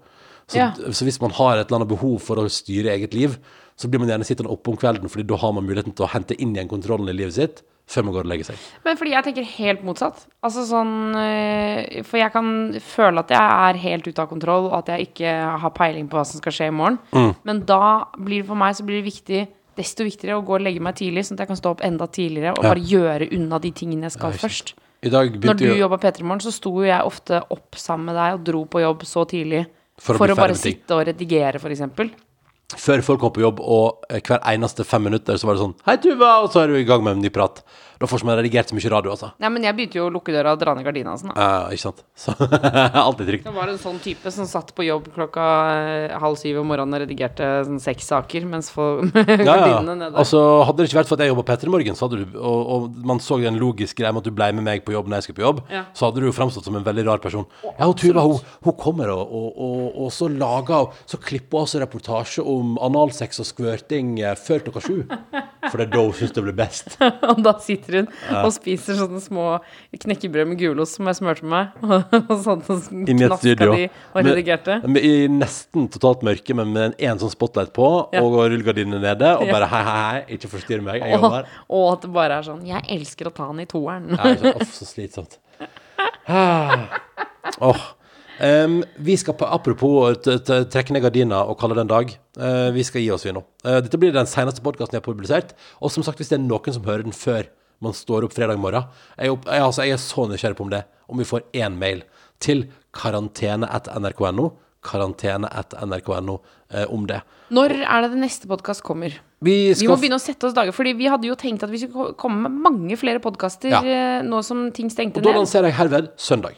Speaker 3: Så,
Speaker 4: Ja.
Speaker 3: så hvis man har et eller annet behov for å styre eget liv, så blir man gjerne sittende oppe om kvelden, fordi da har man muligheten til å hente inn igjen kontrollen i livet sitt før man går og legger seg.
Speaker 4: Men fordi jeg tenker helt motsatt. Altså sånn eh, For jeg kan føle at jeg er helt ute av kontroll, og at jeg ikke har peiling på hva som skal skje i morgen.
Speaker 3: Mm.
Speaker 4: Men da blir det for meg så blir det viktig desto viktigere å gå og legge meg tidlig, sånn at jeg kan stå opp enda tidligere og
Speaker 3: Ja.
Speaker 4: bare gjøre unna de tingene jeg skal først.
Speaker 3: I dag
Speaker 4: Når
Speaker 3: begynte
Speaker 4: du
Speaker 3: jo
Speaker 4: jobba P3 Morgen, så sto jo jeg ofte opp sammen med deg og dro på jobb så tidlig
Speaker 3: For å
Speaker 4: for,
Speaker 3: bli
Speaker 4: å
Speaker 3: ferdig
Speaker 4: bare
Speaker 3: med ting.
Speaker 4: sitte og redigere, f.eks.
Speaker 3: Før folk kom på jobb, og eh, hver eneste fem minutter så var det sånn Hei, Tuva! Og så er du i gang med en ny prat. Da får man redigert så mye radio, altså.
Speaker 4: Nei, men jeg begynte jo å lukke døra og dra ned gardina og sånn. da.
Speaker 3: Eh, ikke sant? Så *laughs* alltid trygt.
Speaker 4: Det var en sånn type som satt på jobb klokka eh, halv syv om morgenen og redigerte sånn seks saker mens *laughs* for
Speaker 3: Ja, ja.
Speaker 4: gardinene nede.
Speaker 3: Altså, hadde det ikke vært for at jeg jobba Petter i morgen, så hadde du, og, og man så den logiske greia med at du ble med meg på jobb når jeg skulle på jobb,
Speaker 4: Ja.
Speaker 3: så hadde du jo framstått som en veldig rar person. Ja, hun Tuva, hun, hun kommer og, og, og, og så lager hun Så klipper hun altså reportasje om analsex og skvørting eh, før klokka sju. For det er da hun syns det blir best.
Speaker 4: *laughs* og da sitter hun og spiser sånne små knekkebrød med gulost som jeg smurte meg, *laughs* og sånn som
Speaker 3: Inni et
Speaker 4: knaska
Speaker 3: studio.
Speaker 4: de og
Speaker 3: Med-
Speaker 4: redigerte.
Speaker 3: med, I nesten totalt mørke, men med en sånn spotlight på,
Speaker 4: Ja.
Speaker 3: og rullegardinene nede, og
Speaker 4: Ja.
Speaker 3: bare hei, hei, hei, ikke forstyrr meg, jeg
Speaker 4: Og,
Speaker 3: jobber.
Speaker 4: og at det bare er sånn Jeg elsker å ta den i toeren.
Speaker 3: Nei, så, off, så slitsomt. Ah. Åh. Em, vi skal på, apropos t t trekke ned gardina og kalle det en dag. eh, vi skal gi oss, vi nå. Eh, dette blir den seneste podkasten jeg har publisert. Og som sagt, hvis det er noen som hører den før man står opp fredag morgen Jeg, er opp, jeg, altså, jeg er så nysgjerrig på om det. Om vi får én mail til karantene at nrk.no. Karantene at nrk.no eh, om det.
Speaker 4: *laughs* Når er det den neste podkast kommer?
Speaker 3: Vi
Speaker 4: Vi
Speaker 3: skal
Speaker 4: må begynne å sette oss dager, Fordi vi hadde jo tenkt at vi skulle ko- komme med mange flere podkaster
Speaker 3: Ja.
Speaker 4: eh, nå som ting stengte
Speaker 3: Da
Speaker 4: ned.
Speaker 3: lanserer jeg herved søndag.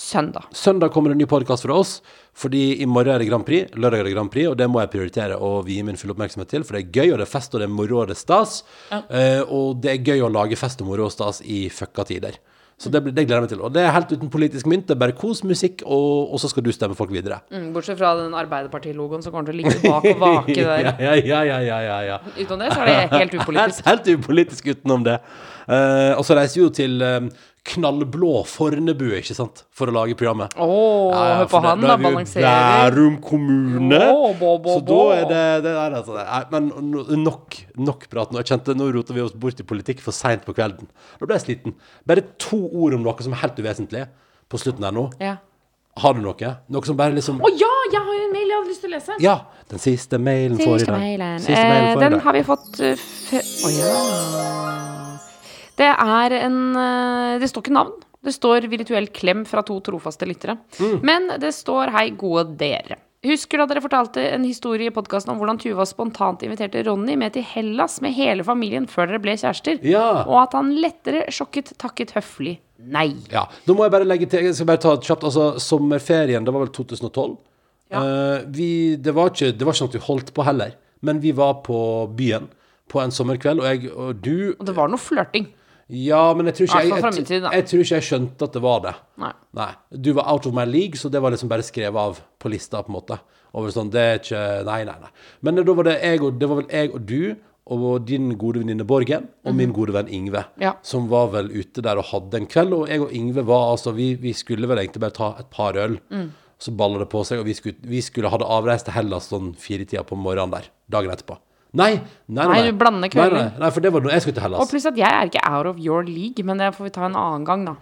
Speaker 4: søndag.
Speaker 3: Søndag kommer en ny podkast fra oss, fordi i morgen er det Grand Prix. Lørdag er det Grand Prix, og det må jeg prioritere å vie min fulle oppmerksomhet til. For det er gøy, og det er fest, og det er moro, og det er stas. Eh, og det er gøy å lage fest og moro og stas i fucka tider. Så det, blir- det gleder jeg meg til. Og det er helt uten politisk mynt. Det er bare kos, musikk, og, og så skal du stemme folk videre.
Speaker 4: Mm, Bortsett fra den Arbeiderpartilogoen som kommer til å ligge bak
Speaker 3: *laughs*
Speaker 4: og vake der.
Speaker 3: Ja, ja, ja, ja, ja, ja, ja.
Speaker 4: Utenom det så er det helt upolitisk.
Speaker 3: *laughs* Helt, helt upolitisk utenom det. Eh, og så reiser vi jo til eh, knallblå Fornebu, ikke sant, for å lage programmet.
Speaker 4: Å, hør
Speaker 3: for
Speaker 4: på
Speaker 3: det-
Speaker 4: han, da.
Speaker 3: Da er
Speaker 4: Balanserer.
Speaker 3: vi jo Bærum kommune.
Speaker 4: Å, bo, bo,
Speaker 3: så da
Speaker 4: bo.
Speaker 3: er det, det er altså det. Nei, Men no- nok, nok prat nå. Jeg kjente, nå roter vi oss bort i politikk for seint på kvelden. Da ble jeg sliten. Bare to ord om noe som er helt uvesentlig på slutten her nå.
Speaker 4: Ja.
Speaker 3: Har du noe? Noe som bare liksom
Speaker 4: Å ja, jeg har jo en mail jeg hadde lyst til å lese.
Speaker 3: Ja! Den siste mailen får i
Speaker 4: Siste
Speaker 3: dag.
Speaker 4: mailen.
Speaker 3: Siste mailen
Speaker 4: Eh,
Speaker 3: får i
Speaker 4: den
Speaker 3: dag.
Speaker 4: har vi fått eh, fø- Å ja. Det er en eh, Det står ikke navn. Det står virtuell klem fra to trofaste lyttere.
Speaker 3: Mm.
Speaker 4: Men det står 'Hei, gode dere'. Husker da dere fortalte en historie i podkasten om hvordan Tuva spontant inviterte Ronny med til Hellas med hele familien før dere ble kjærester?
Speaker 3: Ja.
Speaker 4: Og at han lettere sjokket takket høflig nei.
Speaker 3: Ja. Nå må jeg bare legge til Jeg skal bare ta et kjapt. Altså, sommerferien, det var vel 2012. Eh, vi, det, var ikke, det var ikke sånn at vi holdt på heller, men vi var på byen på en sommerkveld, og jeg og du
Speaker 4: Og det var noe flørting.
Speaker 3: Ja, men jeg tror ikke
Speaker 4: I hvert
Speaker 3: jeg,
Speaker 4: fall fra
Speaker 3: jeg,
Speaker 4: min tid, da.
Speaker 3: jeg, tror ikke jeg skjønte at det var det.
Speaker 4: Nei.
Speaker 3: Du var out of my league, så det var liksom bare skrevet av på lista, på en måte. Over sånn, det er ikke Nei, nei, nei. Men da var det, jeg og, det var vel jeg og du og din gode venninne Borgen og min gode venn Ingve,
Speaker 4: Mhm. Ja.
Speaker 3: som var vel ute der og hadde en kveld. Og jeg og Ingve var altså Vi, vi skulle vel egentlig bare ta et par øl.
Speaker 4: Mm.
Speaker 3: Så balla det på seg, og vi skulle, vi skulle ha det avreist til Hellas sånn fire-tida på morgenen der. Dagen etterpå. Nei! Nei, nei, nei.
Speaker 4: Nei, du blander
Speaker 3: Nei,
Speaker 4: kvelder.
Speaker 3: Nei, nei, for det var da jeg skulle til Hellas.
Speaker 4: Og pluss at jeg er ikke out of your league, men det får vi ta en annen gang, da.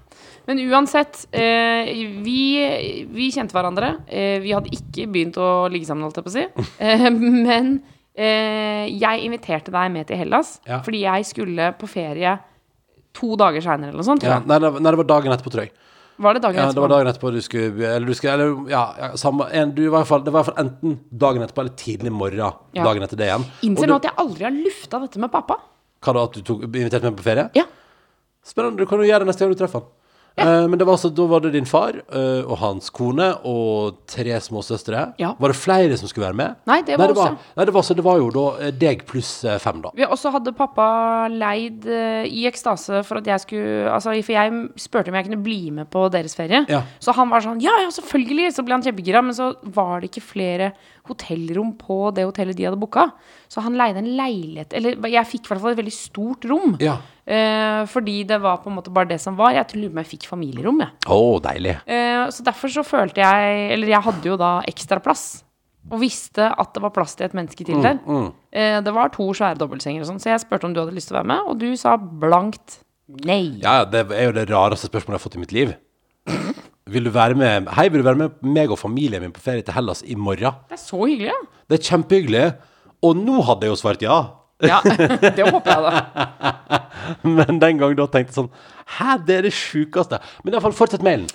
Speaker 4: Men uansett, eh, vi, vi kjente hverandre. Eh, vi hadde ikke begynt å ligge sammen, holdt jeg
Speaker 3: *laughs*
Speaker 4: på å si. Eh, men eh, jeg inviterte deg med til Hellas,
Speaker 3: Ja.
Speaker 4: fordi jeg skulle på ferie to dager seinere eller noe sånt. tror
Speaker 3: Ja,
Speaker 4: jeg.
Speaker 3: nei, det var- nei, det var dagen etterpå, tror jeg.
Speaker 4: Var det dagen
Speaker 3: Ja, det var
Speaker 4: etterpå?
Speaker 3: dagen etterpå du skulle Eller du skulle Eller ja, ja samme en, du, var i hvert fall, Det var i hvert fall enten dagen etterpå eller tidlig morgen
Speaker 4: Ja.
Speaker 3: dagen etter det igjen. Og
Speaker 4: Innser
Speaker 3: du,
Speaker 4: nå at jeg aldri har lufta dette med pappa.
Speaker 3: Hva da, at du tok, inviterte meg på ferie?
Speaker 4: Ja.
Speaker 3: Spennende. Du kan jo gjøre det neste gang du treffer han. Eh, men det var altså, da var det din far eh, og hans kone og tre småsøstre.
Speaker 4: Ja.
Speaker 3: Var det flere som skulle være med?
Speaker 4: Nei, det var
Speaker 3: det var,
Speaker 4: oss,
Speaker 3: nei, det var, så det var jo da eh, deg pluss eh, fem, da.
Speaker 4: Vi også hadde pappa leid eh, i ekstase for at jeg skulle Altså, for jeg spurte om jeg kunne bli med på deres ferie.
Speaker 3: Ja.
Speaker 4: Så han var sånn Ja, ja, selvfølgelig! Så ble han kjempegira. Men så var det ikke flere hotellrom på det hotellet de hadde booka. Så han leide en leilighet Eller jeg fikk i hvert fall et veldig stort rom.
Speaker 3: Ja.
Speaker 4: Eh, fordi det var på en måte bare det som var. Jeg tror lurer på om jeg fikk familierom, jeg.
Speaker 3: Å, deilig.
Speaker 4: Eh, så derfor så følte jeg Eller jeg hadde jo da ekstra plass. Og visste at det var plass til et
Speaker 3: Mm,
Speaker 4: menneske til der. Eh, det var to svære dobbeltsenger og sånn, så jeg spurte om du hadde lyst til å være med, og du sa blankt nei.
Speaker 3: Ja, ja, det er jo det rareste spørsmålet jeg har fått i mitt liv. Vil du være med Hei, vil du være med meg og familien min på ferie til Hellas i morgen?
Speaker 4: Det er så hyggelig, ja.
Speaker 3: Det er kjempehyggelig. Og nå hadde jeg jo svart ja.
Speaker 4: ja *laughs* det håper jeg, da.
Speaker 3: Men den gang da tenkte jeg sånn Hæ, det er det sjukeste. Men iallfall, fortsett mailen.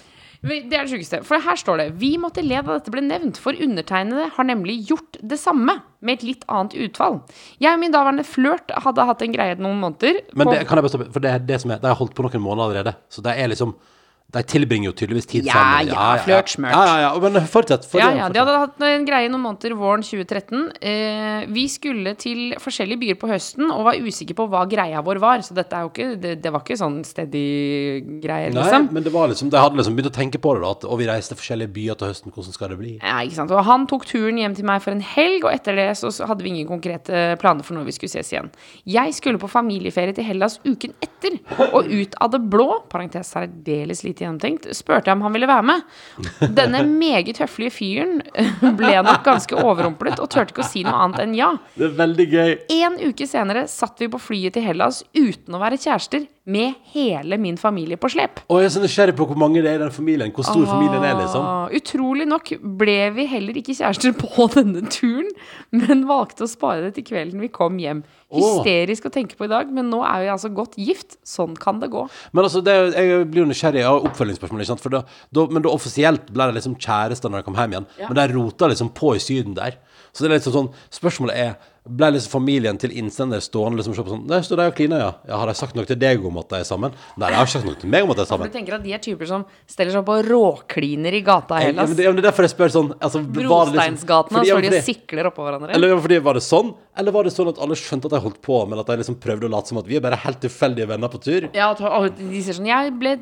Speaker 4: Men Det er det sjukeste. For her står det Vi måtte le da dette ble nevnt, for undertegnede har nemlig gjort det samme, med et litt annet utfall. Jeg og min daværende flørt hadde hatt en greie noen måneder.
Speaker 3: Men
Speaker 4: på-
Speaker 3: det kan jeg bare stoppe, for det er det som er De har holdt på noen måneder allerede. Så de er liksom De tilbringer jo tydeligvis tid
Speaker 4: Ja,
Speaker 3: sammen.
Speaker 4: ja, flørt, smørt.
Speaker 3: Ja, ja, ja. Men fortsett. fortsett,
Speaker 4: Ja, ja, de
Speaker 3: fortsett.
Speaker 4: hadde hatt en greie noen måneder våren 2013. Eh, vi skulle til forskjellige byer på høsten og var usikre på hva greia vår var. Så dette er jo ikke, det, det var ikke sånn steady greier,
Speaker 3: Nei,
Speaker 4: liksom.
Speaker 3: men det var liksom, de hadde liksom begynt å tenke på det, da. At, og vi reiste til forskjellige byer til høsten. Hvordan skal det bli?
Speaker 4: Ja, ikke sant? Og han tok turen hjem til meg for en helg, og etter det så så hadde vi ingen konkrete planer for når vi skulle ses igjen. Jeg skulle på familieferie til Hellas uken etter, og ut av det blå, parentes særdeles lite gjennomtenkt, spurte jeg om han ville være med. Denne meget høflige fyren ble nok ganske overrumplet og turte ikke å si noe annet enn ja.
Speaker 3: Det er veldig gøy.
Speaker 4: En uke senere satt vi på flyet til Hellas uten å være kjærester, med hele min familie på slep.
Speaker 3: Og jeg er så nysgjerrig på hvor mange det er i den familien. Hvor stor familien er, liksom.
Speaker 4: Ah, Utrolig nok ble vi heller ikke kjærester på *laughs* denne turen, men valgte å spare det til kvelden vi kom hjem. Hysterisk å tenke på i dag, men nå er vi altså godt gift. Sånn kan det gå.
Speaker 3: Men altså, det, er- jeg blir jo nysgjerrig av oppfølgingsspørsmål. Ikke sant? For da, da, men da offisielt ble det liksom kjærester når de kom hjem igjen. Men de rota liksom på i Syden der. Så det er liksom sånn Spørsmålet er ble liksom familien til innsender stående liksom og se på sånn Der står de og kliner, ja. ja. Har de sagt noe til deg om at de er sammen? Nei, de har ikke sagt noe til meg om at de er
Speaker 4: For
Speaker 3: sammen.
Speaker 4: du tenker at de er typer som steller seg opp og råkliner i gata i
Speaker 3: Jeg, ja,
Speaker 4: Hellas?
Speaker 3: men det, ja, men det er derfor jeg spør sånn altså, var det liksom-
Speaker 4: Brosteinsgatene,
Speaker 3: fordi-
Speaker 4: og
Speaker 3: ja,
Speaker 4: så
Speaker 3: men
Speaker 4: står de og
Speaker 3: fordi-
Speaker 4: sikler oppå hverandre?
Speaker 3: Eller ja, fordi var det sånn? Eller var det sånn at alle skjønte at de holdt på, men at de liksom prøvde å late som at vi er bare helt tilfeldige venner på tur?
Speaker 4: Ja, at alle- de sier sånn Jeg ble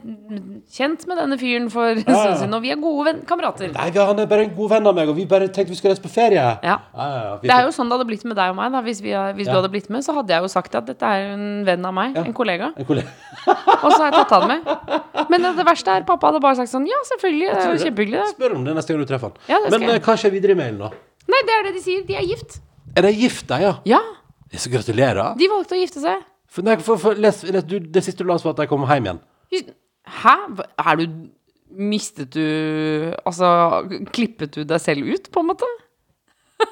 Speaker 4: kjent med denne fyren for en *laughs* stund siden, og vi er gode venn kamerater.
Speaker 3: Nei, vi- han er bare en god venn av meg, og vi bare tenkte vi skulle reise på ferie.
Speaker 4: Ja.
Speaker 3: ja, ja, vi-
Speaker 4: Det er jo sånn det hadde blitt med deg og meg. Da. Hvis, vi, eh, hvis du
Speaker 3: Ja.
Speaker 4: hadde blitt med, så hadde jeg jo sagt at dette er en venn av meg, en kollega.
Speaker 3: En kollega.
Speaker 4: Og så har jeg tatt han med. Men det verste er pappa hadde bare sagt sånn Ja, selvfølgelig. Det er jo kjempehyggelig. det."
Speaker 3: Spør om det neste gang du treffer han.
Speaker 4: Ja, det skal
Speaker 3: men
Speaker 4: jeg.
Speaker 3: eh, hva skjer videre i mailen, da?
Speaker 4: Nei, det er det de sier. De er gift.
Speaker 3: Er de gift, de, ja?
Speaker 4: Ja.
Speaker 3: Jeg skal gratulere.
Speaker 4: De valgte å gifte seg.
Speaker 3: For, nei, for, for, les, les, du, det siste du la oss var at de kom hjem igjen.
Speaker 4: Hæ? Hva- Er du Mistet du Altså, klippet du deg selv ut, på en måte? *laughs*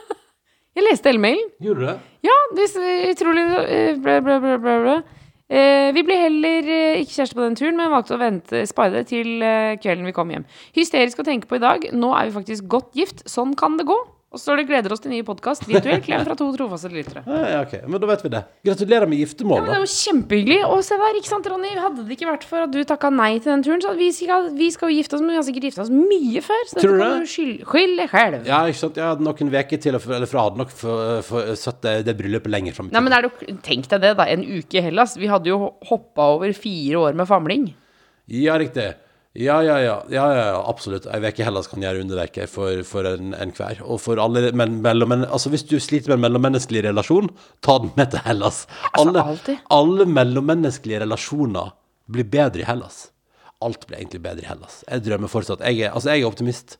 Speaker 4: Jeg leste hele mailen.
Speaker 3: Gjorde du det?
Speaker 4: Ja, det er utrolig eh, bla, bla, bla, bla, bla. Eh, vi ble heller eh, ikke kjærester på den turen, men valgte å vente spare det til eh, kvelden vi kom hjem. Hysterisk å tenke på i dag. Nå er vi faktisk godt gift. Sånn kan det gå. Og så står det 'Gleder oss til ny podkast'. Virtuell klem fra to trofaste lyttere.
Speaker 3: Ja, ja, ok. Men da vet vi det. Gratulerer med giftermål,
Speaker 4: Men
Speaker 3: da.
Speaker 4: det er jo kjempehyggelig. Og se der, ikke sant, Ronny. Hadde det ikke vært for at du takka nei til den turen, så hadde vi skal, vi skal jo gifte oss, men vi har sikkert gifta oss mye før. Så
Speaker 3: Tror du
Speaker 4: dette kan
Speaker 3: det?
Speaker 4: du skyld- skylde selv.
Speaker 3: Ja, ikke sant? Jeg hadde noen veker til, å- eller fra hadde nok for, for, satt det, det bryllupet lenger fram. i
Speaker 4: Nei,
Speaker 3: tid.
Speaker 4: men er du, tenk deg det, da. En uke i Hellas. Vi hadde jo hoppa over fire år med famling.
Speaker 3: Ja, riktig. Ja, ja, ja. ja, ja, ja absolutt. Ei uke i Hellas kan gjøre underverker for, for en, en hver. Og for alle men, mellom, Altså, hvis du sliter med en mellommenneskelig relasjon, ta den med til Hellas. Alle,
Speaker 4: alltid.
Speaker 3: alle mellommenneskelige relasjoner blir bedre i Hellas. Alt blir egentlig bedre i Hellas. Jeg drømmer fortsatt. Jeg er, altså, jeg er optimist.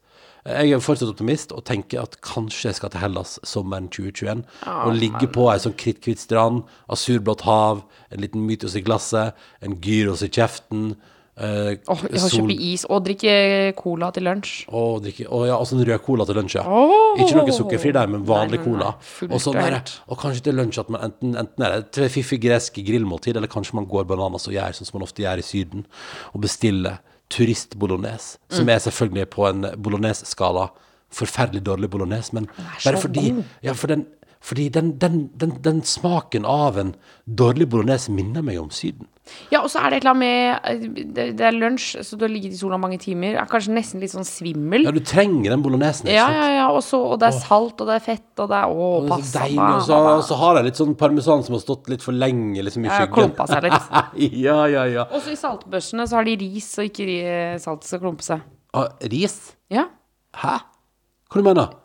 Speaker 3: Jeg er fortsatt optimist og tenker at kanskje jeg skal til Hellas sommeren 2021 og ligge på ei sånn kritthvit strand, asurblått hav, en liten mytos i glasset, en gyros i kjeften. eh,
Speaker 4: Åh, jeg har
Speaker 3: sol-
Speaker 4: kjøpt is og drikke cola til lunsj.
Speaker 3: og drikke Og ja, og sånn rød cola til lunsj, ja.
Speaker 4: Åh!
Speaker 3: Ikke noe sukkerfri der, men vanlig
Speaker 4: Nei, nei,
Speaker 3: cola.
Speaker 4: nei, fullt
Speaker 3: Og, sånn
Speaker 4: og
Speaker 3: der,
Speaker 4: helt.
Speaker 3: og kanskje til lunsj at man enten, enten er det et fiffig gresk grillmåltid, eller kanskje man går bananas og gjør sånn som man ofte gjør i Syden, og bestiller turist-bolognese,
Speaker 4: Mm.
Speaker 3: som er selvfølgelig på en bolognese-skala forferdelig dårlig bolognese, men
Speaker 4: så
Speaker 3: bare fordi Ja, for den fordi den, den, den, den smaken av en dårlig bolognese minner meg om Syden.
Speaker 4: Ja, og så er det et eller annet med eh, Det, det er lunsj, så du har ligget i sola mange timer. Er kanskje nesten litt sånn svimmel.
Speaker 3: Ja, du trenger den bolognesen. ikke
Speaker 4: Ja,
Speaker 3: sant?
Speaker 4: ja, ja. Og, så, og det er salt, og det er fett, og det er Å,
Speaker 3: Og det er så
Speaker 4: pasta.
Speaker 3: deilig,
Speaker 4: ba,
Speaker 3: og så,
Speaker 4: ba,
Speaker 3: og
Speaker 4: ba.
Speaker 3: så har jeg litt sånn parmesan som har stått litt for lenge liksom, i
Speaker 4: Ja,
Speaker 3: skyggen.
Speaker 4: klumpa seg litt.
Speaker 3: *laughs* ja, ja, ja.
Speaker 4: Og så i saltbørsene så har de ris, og ikke ri- salt skal klumpe seg.
Speaker 3: Og ris?
Speaker 4: Ja.
Speaker 3: Hæ? Hva du mener du?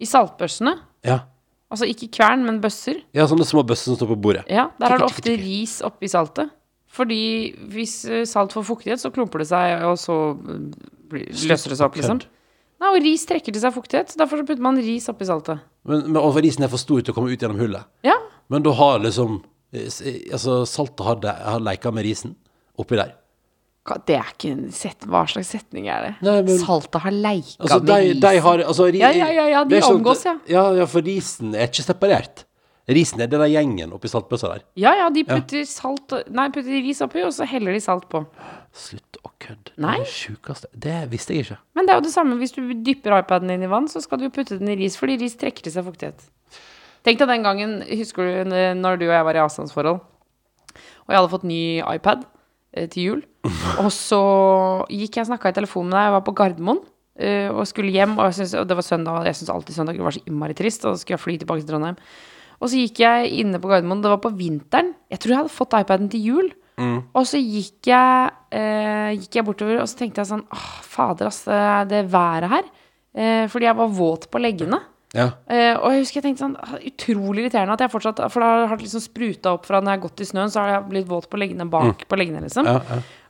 Speaker 4: I saltbørsene.
Speaker 3: Ja.
Speaker 4: Altså ikke kvern, men bøsser.
Speaker 3: ja, sånne små bøsser som står på bordet.
Speaker 4: Ja, Der har du ofte ris oppi saltet. Fordi hvis eh, salt får fuktighet, så klumper det seg, og så eh, blir- løser det seg opp, liksom. Nei, og ris trekker til seg fuktighet, så derfor så putter man ris oppi saltet.
Speaker 3: Men, men og risen er for stor til å komme ut gjennom hullet.
Speaker 4: Ja,
Speaker 3: Men da har liksom eh, s- eh, altså, Saltet har, de, har leika med risen oppi der.
Speaker 4: Hva- det er ikke en set, Hva slags setning er det?
Speaker 3: Nei, men-
Speaker 4: Saltet har leika
Speaker 3: Altså,
Speaker 4: med
Speaker 3: de,
Speaker 4: risen.
Speaker 3: de har altså, ri-
Speaker 4: Ja, ja, ja, ja, de
Speaker 3: det er sånn-
Speaker 4: omgås, ja.
Speaker 3: ja. Ja, for risen er ikke separert. Risen er den der gjengen oppi saltbøssa der.
Speaker 4: Ja, ja, de putter, salt, nei, putter ris oppi, og så heller de salt på.
Speaker 3: Slutt å kødde.
Speaker 4: Nei.
Speaker 3: Det er det sjukeste. Det visste jeg ikke.
Speaker 4: Men det er jo det samme hvis du dypper iPaden inn i vann, så skal du jo putte den i ris, fordi ris trekker til seg fuktighet. Tenk deg den gangen, husker du n- når du og jeg var i avstandsforhold, og jeg hadde fått ny iPad eh, til jul, og så gikk jeg og snakka i telefonen med deg, jeg var på Gardermoen. eh, og skulle hjem, og, jeg syntes- og det var søndag, og jeg syns alltid søndager var så innmari trist. Og så skulle jeg fly tilbake til Trondheim. Og så gikk jeg inne på Gardermoen, det var på vinteren. Jeg tror jeg hadde fått iPaden til jul. Og så gikk jeg, eh, gikk jeg bortover, og så tenkte jeg sånn Åh, fader, ass, det er det været her. Eh, fordi jeg var våt på leggene.
Speaker 3: Ja.
Speaker 4: Eh, og jeg husker jeg tenkte sånn «Ah, Utrolig irriterende at jeg fortsatt For da har det liksom spruta opp fra når jeg har gått i snøen, så har jeg blitt våt på leggene bak på leggene, liksom.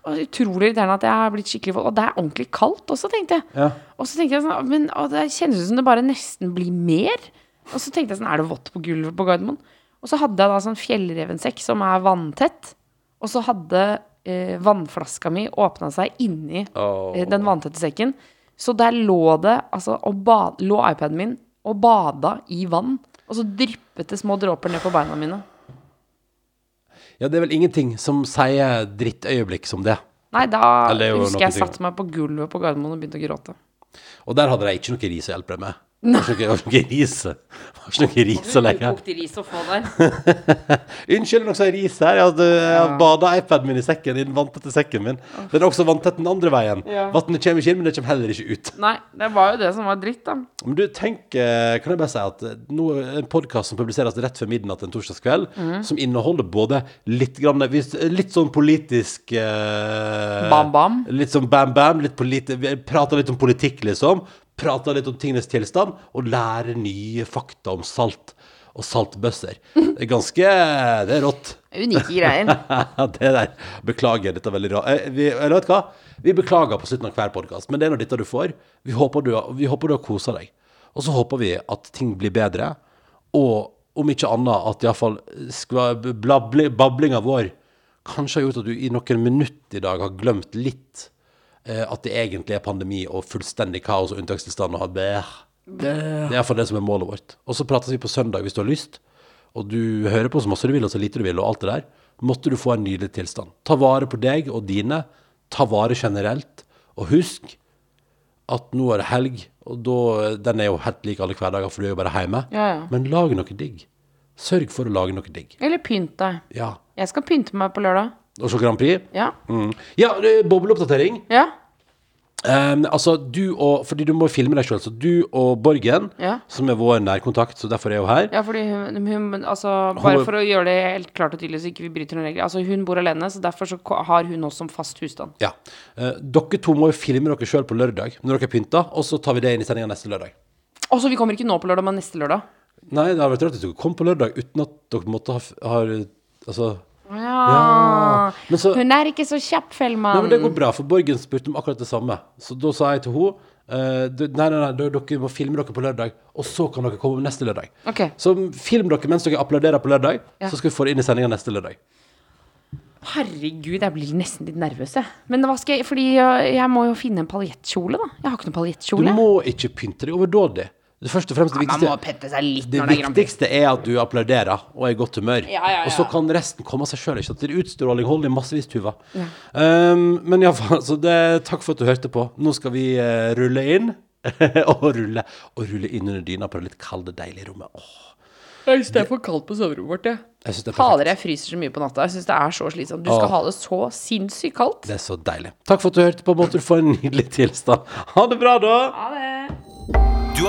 Speaker 4: Og utrolig irriterende at jeg har blitt skikkelig våt. Og det er ordentlig kaldt også, tenkte jeg.
Speaker 3: Ja.
Speaker 4: Og så tenkte jeg sånn Men å, det kjennes ut som det bare nesten blir mer. Og så tenkte jeg sånn Er det vått på gulvet på Gardermoen? Og så hadde jeg da sånn fjellrevensekk som er vanntett. Og så hadde eh, vannflaska mi åpna seg inni eh, den vanntette sekken. Så der lå det altså og ba, Lå iPaden min og bada i vann. Og så dryppet det små dråper ned på beina mine.
Speaker 3: Ja, det er vel ingenting som sier drittøyeblikk som det.
Speaker 4: Nei, da
Speaker 3: det er jo
Speaker 4: husker jeg
Speaker 3: noen ting.
Speaker 4: satte meg på gulvet på Gardermoen og begynte å gråte.
Speaker 3: Og der hadde de ikke noe ris å hjelpe deg med. Var ikke noe, var ikke noe ris Var ikke noe ris å legge her.
Speaker 4: Kokte ris å få der.
Speaker 3: Unnskyld, noe sånn ris her. Jeg hadde, jeg hadde bada iPaden min i sekken, i den vanntette sekken min. Den er også vanntett den andre veien.
Speaker 4: Ja.
Speaker 3: Vannet kommer ikke inn, men det kommer heller ikke ut.
Speaker 4: *laughs* Nei, det var jo det som var dritt, da.
Speaker 3: Men du, tenk, eh, kan jeg bare si at eh, nå er en podkast som publiseres rett før midnatt en torsdagskveld,
Speaker 4: Mm.
Speaker 3: som inneholder både litt, grann, hvis- litt sånn politisk eh,
Speaker 4: Bam, bam.
Speaker 3: Litt sånn bam-bam. Litt politi vi prater litt om politikk, liksom. Prater litt om tingenes tilstand, og lærer nye fakta om salt og
Speaker 4: *laughs*
Speaker 3: saltbøsser. Det er ganske Det er rått.
Speaker 4: Unike greier.
Speaker 3: *laughs* det der. Beklager, dette er veldig rart. Eh, Vi, eller vet du hva? Vi beklager på slutten av hver podkast, men det er nå dette du får. Vi håper du, har- vi håper du har kosa deg. Og så håper vi at ting blir bedre. Og om ikke annet at iallfall bablinga vår kanskje har gjort at du i noen minutter i dag har glemt litt eh, at det egentlig er pandemi og fullstendig kaos og unntakstilstand og ha bæh. Det er iallfall det som er målet vårt. Og så prates vi på søndag hvis du har lyst. Og du hører på så masse du vil, og så lite du vil, og alt det der. Måtte du få en nydelig tilstand. Ta vare på deg og dine. Ta vare generelt. Og husk at nå er det helg, og da, den er jo helt lik alle hverdager, for du er jo bare hjemme.
Speaker 4: Ja, ja.
Speaker 3: Men lag noe digg. Sørg for å lage noe digg.
Speaker 4: Eller pynt deg.
Speaker 3: Ja.
Speaker 4: Jeg skal pynte meg på lørdag.
Speaker 3: Og så Grand Prix.
Speaker 4: Ja.
Speaker 3: Mm. Ja, det er bobleoppdatering.
Speaker 4: Ja.
Speaker 3: Um, altså, du og Fordi du må filme deg sjøl. Så du og Borgen,
Speaker 4: Ja.
Speaker 3: som er vår nærkontakt, så derfor er hun her.
Speaker 4: Ja, fordi hun, hun altså, Bare
Speaker 3: Hun-
Speaker 4: for å gjøre det helt klart og tydelig, så ikke vi bryter noen regler. Altså, hun bor alene, så derfor så ko- har hun oss som fast husstand.
Speaker 3: Ja. Eh, dere to må jo filme dere sjøl på lørdag når dere er pynta, og så tar vi det inn i sendinga neste lørdag.
Speaker 4: Og så vi kommer ikke nå på lørdag, men neste lørdag.
Speaker 3: Nei, det hadde vært rart hvis dere kom på lørdag uten at dere måtte ha f- har, Altså
Speaker 4: Ja.
Speaker 3: Men så
Speaker 4: Hun er ikke så kjapp,
Speaker 3: Nei,
Speaker 4: Fellmann.
Speaker 3: men det går bra, for Borgen spurte om akkurat det samme. Så da sa jeg til henne Nei, nei, nei, dere- dere må filme dere på lørdag, og så kan dere komme neste lørdag.
Speaker 4: Ok.
Speaker 3: Så film dere mens dere applauderer på lørdag,
Speaker 4: Ja.
Speaker 3: så skal vi få det inn i sendinga neste lørdag.
Speaker 4: Herregud, jeg blir nesten litt nervøs, jeg. Men hva skal jeg Fordi jeg, jeg må jo finne en paljettkjole, da. Jeg har ikke noen
Speaker 3: Du
Speaker 4: paljettkjole.
Speaker 3: må ikke pynte deg overdådig. Det første og fremst det
Speaker 4: Man må
Speaker 3: viktigste,
Speaker 4: pette seg litt
Speaker 3: det
Speaker 4: når det er Grand Prix.
Speaker 3: viktigste er at du applauderer og er i godt humør.
Speaker 4: Ja, ja, ja.
Speaker 3: Og så kan resten komme av seg sjøl. Det er utstråling. Hold i massevis, Tuva. Um, *laughs* men iallfall, så det, takk for at du hørte på. Nå skal vi eh, rulle inn. *laughs* og, rulle, og rulle inn under dyna på det litt kalde, deilige rommet. Åh,
Speaker 4: Jeg syns det er for kaldt på soverommet vårt, jeg.
Speaker 3: jeg synes det er
Speaker 4: Fader,
Speaker 3: perfekt. Ah.
Speaker 4: jeg fryser så mye på natta. Jeg syns det er så slitsomt. Du skal
Speaker 3: Åh.
Speaker 4: ha det så sinnssykt kaldt.
Speaker 3: Det er så deilig. Takk for at du hørte på. Måtte du få en nydelig tilstand. Ha det bra, da.
Speaker 1: Du